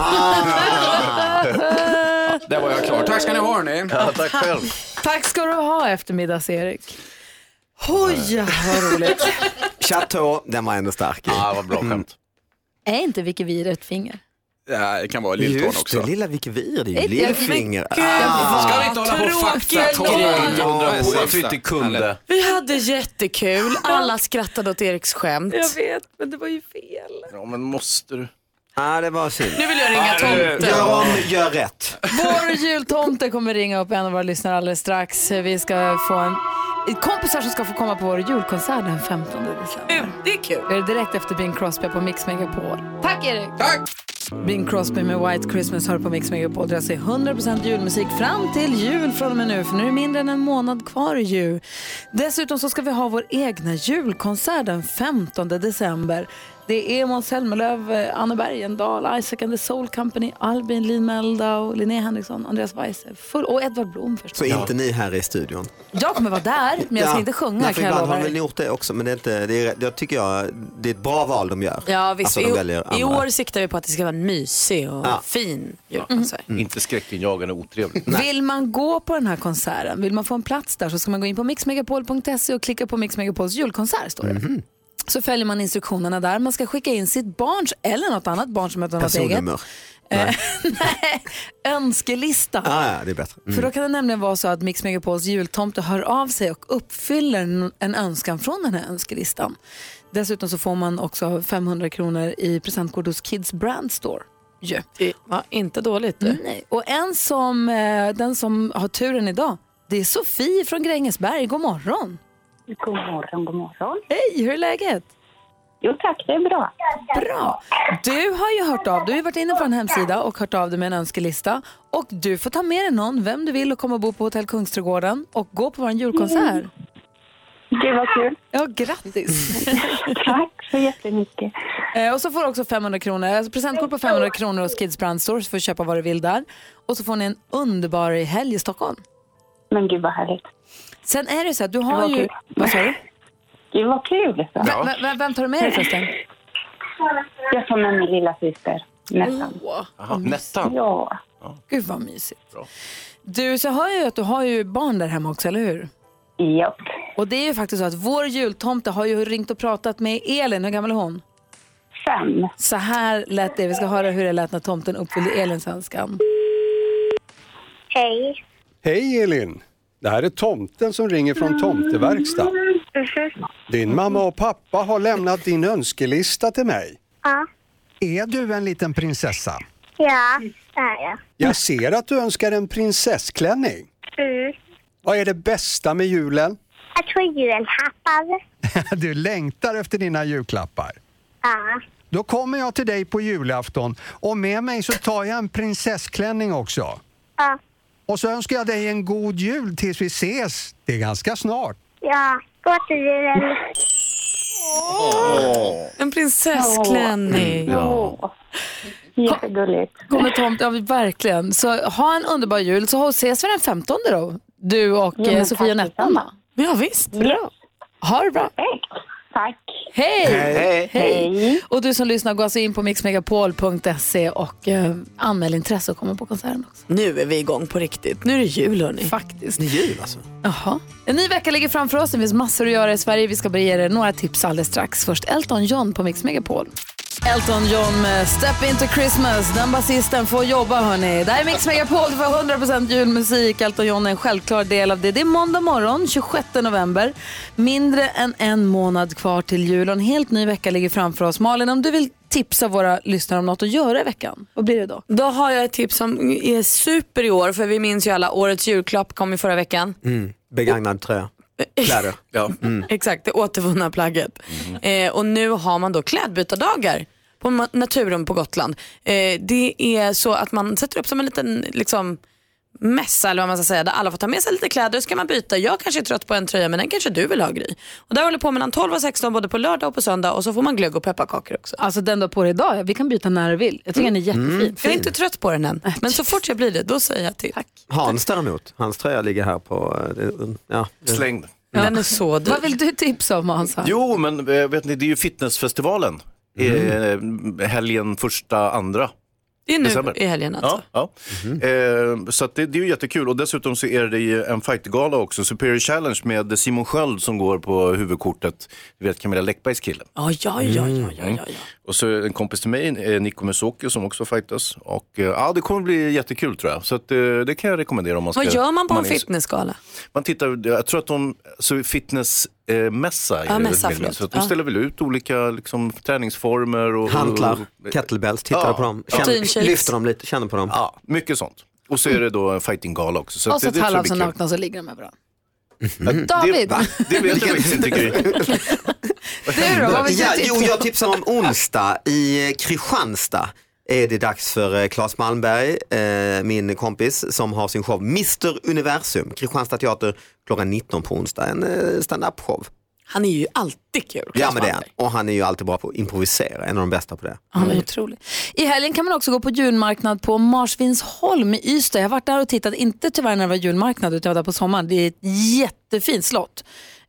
V: Där var jag klar. Tack ska ni ha hörni.
C: Ja, tack själv.
A: Tack ska du ha eftermiddags-Erik. Oj, vad roligt.
S: Chateau, den var ändå stark. Ja, vad bra skämt.
A: Är inte Vicky Vire ett finger?
V: Det kan vara
S: lilltån också. Just det, lilla Vicky Vier, det är ju
A: Ett jävla-
S: lillfinger. Ah.
A: Gud,
B: vad
S: Ska
B: Ska vi inte hålla på och tråkig faktatolla grej. och dundra på
C: att vi inte kunde.
B: Vi hade jättekul. Alla skrattade åt Eriks skämt.
A: Jag vet, men det var ju fel.
C: Ja, men måste du?
S: Ja, det var synd.
B: Nu vill jag ringa tomten.
S: Gör om, gör rätt.
A: Vår jultomte kommer ringa upp en av våra lyssnare alldeles strax. Vi ska få en kompisar som ska få komma på vår julkonsert den 15 december.
B: Det är kul.
A: Det är direkt efter Bing Crosby på Mix Megapol. Tack Erik!
V: Tack!
A: Bing Crosby med White Christmas hör på Mix Megapol där jag ser 100% julmusik fram till jul från och med nu för nu är det mindre än en månad kvar i jul. Dessutom så ska vi ha vår egna julkonsert den 15 december. Det är Måns Zelmerlöw, eh, Anna Bergendahl, Isaac and the Soul Company, Albin Lindmeldau, Linnea Henriksson, Andreas Weise full, och Edvard Blom förstås.
S: Så inte ni här i studion.
A: Jag kommer vara där, men jag ska
S: Ja,
A: inte sjunga
S: nej, för
A: kan jag lova
S: ibland har de väl
A: dig.
S: gjort det också, men det är inte, det är, jag tycker jag, det är ett bra val de gör.
B: Ja, visst.
S: Alltså, de
B: I,
S: väljer
B: I
S: andra.
B: år siktar vi på att det ska vara mysig och fin julkonsert.
S: Mm.
C: Inte skräckinjagande och otrevligt.
A: Vill man gå på den här konserten, vill man få en plats där så ska man gå in på mixmegapol.se och klicka på Mix Megapols julkonsert står det.
S: Mhm.
A: Så följer man instruktionerna där. Man ska skicka in sitt barns eller något annat barns som heter något eget.
S: Personnummer.
A: Önskelista.
S: Ja, ja, det är bättre. Mm.
A: För då kan det nämligen vara så att Mix Megapols jultomte hör av sig och uppfyller en- en önskan från den här önskelistan. Dessutom så får man också 500 kronor i presentkort hos Kids Brand Store. Yeah.
B: Det var inte dåligt.
A: Mm, Nej. Och en som, eh, den som har turen idag, det är Sofie från Grängesberg. God morgon!
W: God morgon, god morgon.
A: Hej, hur är läget?
W: Jo tack, det är bra.
A: Bra! Du har ju hört av du har ju varit inne på en hemsida och hört av dig med en önskelista. Och du får
W: Mm.
A: ta med dig någon, vem du vill, och komma och bo på Hotell Kungsträdgården och gå på vår julkonsert.
W: Det var kul.
A: Ja, grattis.
W: Tack så jättemycket.
A: Eh, och så får du också 500 kronor, alltså presentkort på 500 kronor hos Kids Brand Store så får du köpa vad du vill där. Och så får ni en underbar helg i Stockholm.
W: Men gud vad härligt.
A: Sen är det så att du
W: Det
A: har
W: var
A: ju...
W: kul.
A: Vad sa du?
W: Gud vad kul.
A: Vem, vem, vem tar du med dig förresten?
W: Jag tar med min lilla syster. Nästan.
C: Jaha, nästan.
W: Ja.
A: Gud vad mysigt. Du, så jag hör ju att du har ju barn där hemma också, eller hur?
W: Japp.
A: Och det är ju faktiskt så att vår jultomte har ju ringt och pratat med Elin. Hur gammal är hon?
W: Fem.
A: Så här lät det. Vi ska höra hur det lät när tomten uppfyllde Elins önskan.
D: Hej.
G: Hej Elin! Det här är tomten som ringer från tomteverkstad.
D: Mhm.
G: Din mamma och pappa har lämnat din önskelista till mig.
D: Ja.
G: Är du en liten prinsessa?
D: Ja, det är jag.
G: Jag ser att du önskar en prinsessklänning.
D: Mm.
G: Vad är det bästa med julen?
D: Jag tror julklappar.
G: Du längtar efter dina julklappar.
D: Ja.
G: Då kommer jag till dig på julafton och med mig så tar jag en prinsessklänning också.
D: Ja.
G: Och så önskar jag dig en god jul tills vi ses. Det är ganska snart.
D: Ja. God jul.
A: En prinsessklänning.
W: Ja. Jättegulligt.
A: Kommer tomten, ja verkligen. Så ha en underbar jul, så ses vi den 15 då. Du och
W: Ja, men
A: eh, Sofia
W: tack
A: och Nettan. va? Ja visst. Bra. Ha det bra.
W: Tack.
A: Hej!
W: Hej.
A: Hej. Och du som lyssnar, gå alltså in på mixmegapol.se och eh, anmäl intresse och komma på konserten också.
B: Nu är vi igång på riktigt. Nu är det jul hörni.
A: Faktiskt.
B: Det är jul alltså.
A: Jaha. En ny vecka ligger framför oss, det finns massor att göra i Sverige. Vi ska bara ge er några tips alldeles strax. Först Elton John på Mix Megapol. Elton John med Step Into Christmas. Den basisten får jobba hörni. Det här är Mix Megapol, du får 100% julmusik. Elton John är en självklar del av det. Det är måndag morgon, 26 november. Mindre än en månad kvar till jul och en helt ny vecka ligger framför oss. Malin, om du vill tipsa våra lyssnare om något att göra i veckan, vad blir det då?
B: Då har jag ett tips som är super i år för vi minns ju alla årets julklapp kom ju förra veckan.
S: Mm. Begagnad tröja. Kläder. Mm.
B: Exakt, det återvunna plagget. Eh, och nu har man då klädbytardagar på ma- naturen på Gotland. Eh, det är så att man sätter upp som en liten liksom, mässa eller vad man ska säga där alla får ta med sig lite kläder och så kan man byta. Jag kanske är trött på en tröja men den kanske du vill ha Gry. Och där håller på mellan 12 och 16 både på lördag och på söndag och så får man glögg och pepparkakor också.
A: Alltså den du har på dig idag, vi kan byta när du vill. Jag tycker den är jättefin.
B: Jag är Mm. inte trött på den än men så fort jag blir det då säger jag till.
S: Hans däremot, hans tröja ligger här på... eh, Ja. Mm.
C: Slängd.
B: Den är så dyr.
A: Vad vill du tipsa om Hans?
C: Jo, men eh, vet ni, det är ju fitnessfestivalen.
S: Mm.
C: Eh, helgen första, andra.
B: Det är nu i helgen alltså.
C: Ja, ja. Eh, så att det, det är ju jättekul och dessutom så är det ju en fightergala också, Superior Challenge med Simon Sköld som går på huvudkortet, du vet Camilla Läckbergs kille.
B: Ja, ja, ja, ja, ja, ja.
C: Och så en kompis till mig, eh, Nico Musocchio som också fightas. Och eh, ja, det kommer bli jättekul tror jag. Så att, eh, det kan jag rekommendera om man ska...
B: Vad gör man på en
C: är-
B: fitnessgala?
C: Man tittar, jag tror att de, så fitnessmässa eh, mässa är
B: Ja,
C: det
B: mässa,
C: väl,
B: förlåt.
C: Så att de
B: Ja.
C: ställer väl ut olika liksom, träningsformer och...
S: Hantlar,
C: och,
S: kettlebells, tittar på dem,
C: ja.
S: känner, lyfter dem lite, känner på dem.
C: Ja, mycket sånt. Och så är det då en fightinggala också. Så
A: och
C: att
A: så
C: det, det
A: tar
C: tror jag
A: alla
C: blir
A: sig
C: kul.
A: nakna och så ligger de med varandra.
C: Mm.
A: David!
C: Det vet jag faktiskt inte Gry.
A: Du då, vad vill du
S: ja,
A: tipsa
S: jo, jag
A: om?
S: tipsar om onsdag i eh, Kristianstad är det dags för eh, Claes Malmberg, eh, min kompis, som har sin show Mr Universum, Kristianstad Teater klockan 19 på onsdag, en eh, stand-up-show.
B: Han är ju alltid kul.
S: Ja men det är han, och han är ju alltid bra på att improvisera, en av de bästa på det.
P: Mm.
A: Han
X: Mm.
A: är otrolig. I helgen kan man också gå på julmarknad på Marsvinsholm i Ystad. Jag har varit där och tittat, inte tyvärr när det var julmarknad utan jag var där på sommaren. Det är ett jättefint slott.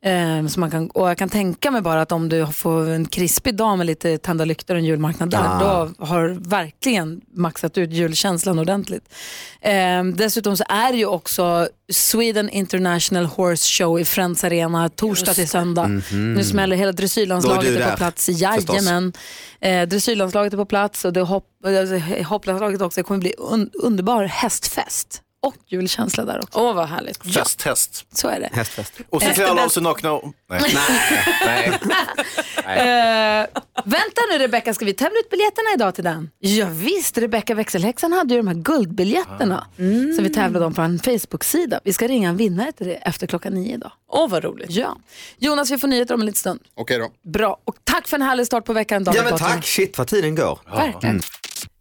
A: Ehm, som man kan, och jag kan tänka mig bara att om du får en krispig dag med lite tända lyktor och en julmarknad där,
X: Ah.
A: då har du verkligen maxat ut julkänslan ordentligt. Ehm, dessutom så är det ju också Sweden International Horse Show i Friends Arena torsdag till söndag.
X: Mhm.
A: Nu smäller hela
X: Då är du
A: dressyrlandslaget är
X: där,
A: på plats.
X: förstås.
A: Jajamän. Eh, dressyrlandslaget är på plats och det hopp, eh, hopplandslaget också. Det kommer bli un, underbar hästfest och julkänsla där också.
B: Åh vad härligt.
C: Fest, häst.
A: Så är det.
S: Hästfest.
C: Och så
A: Eh,
C: klär alla
A: men-
C: av sig nakna och... Nej. Nej. Nej.
A: Eh, vänta nu Rebecka, ska vi tävla ut biljetterna idag till den? Ja, visst, Rebecka växelhäxan hade ju de här guldbiljetterna som vi tävlade om på en Facebook-sida. Vi ska ringa en vinnare till det efter klockan nio idag.
B: Åh vad roligt.
A: Ja. Jonas, vi får nyheter om en liten stund.
P: Okej då.
A: Bra, och tack för en härlig start på veckan.
S: Ja
A: David
S: men
A: Batra.
S: tack, shit vad tiden går. Mm.
A: Verkligen.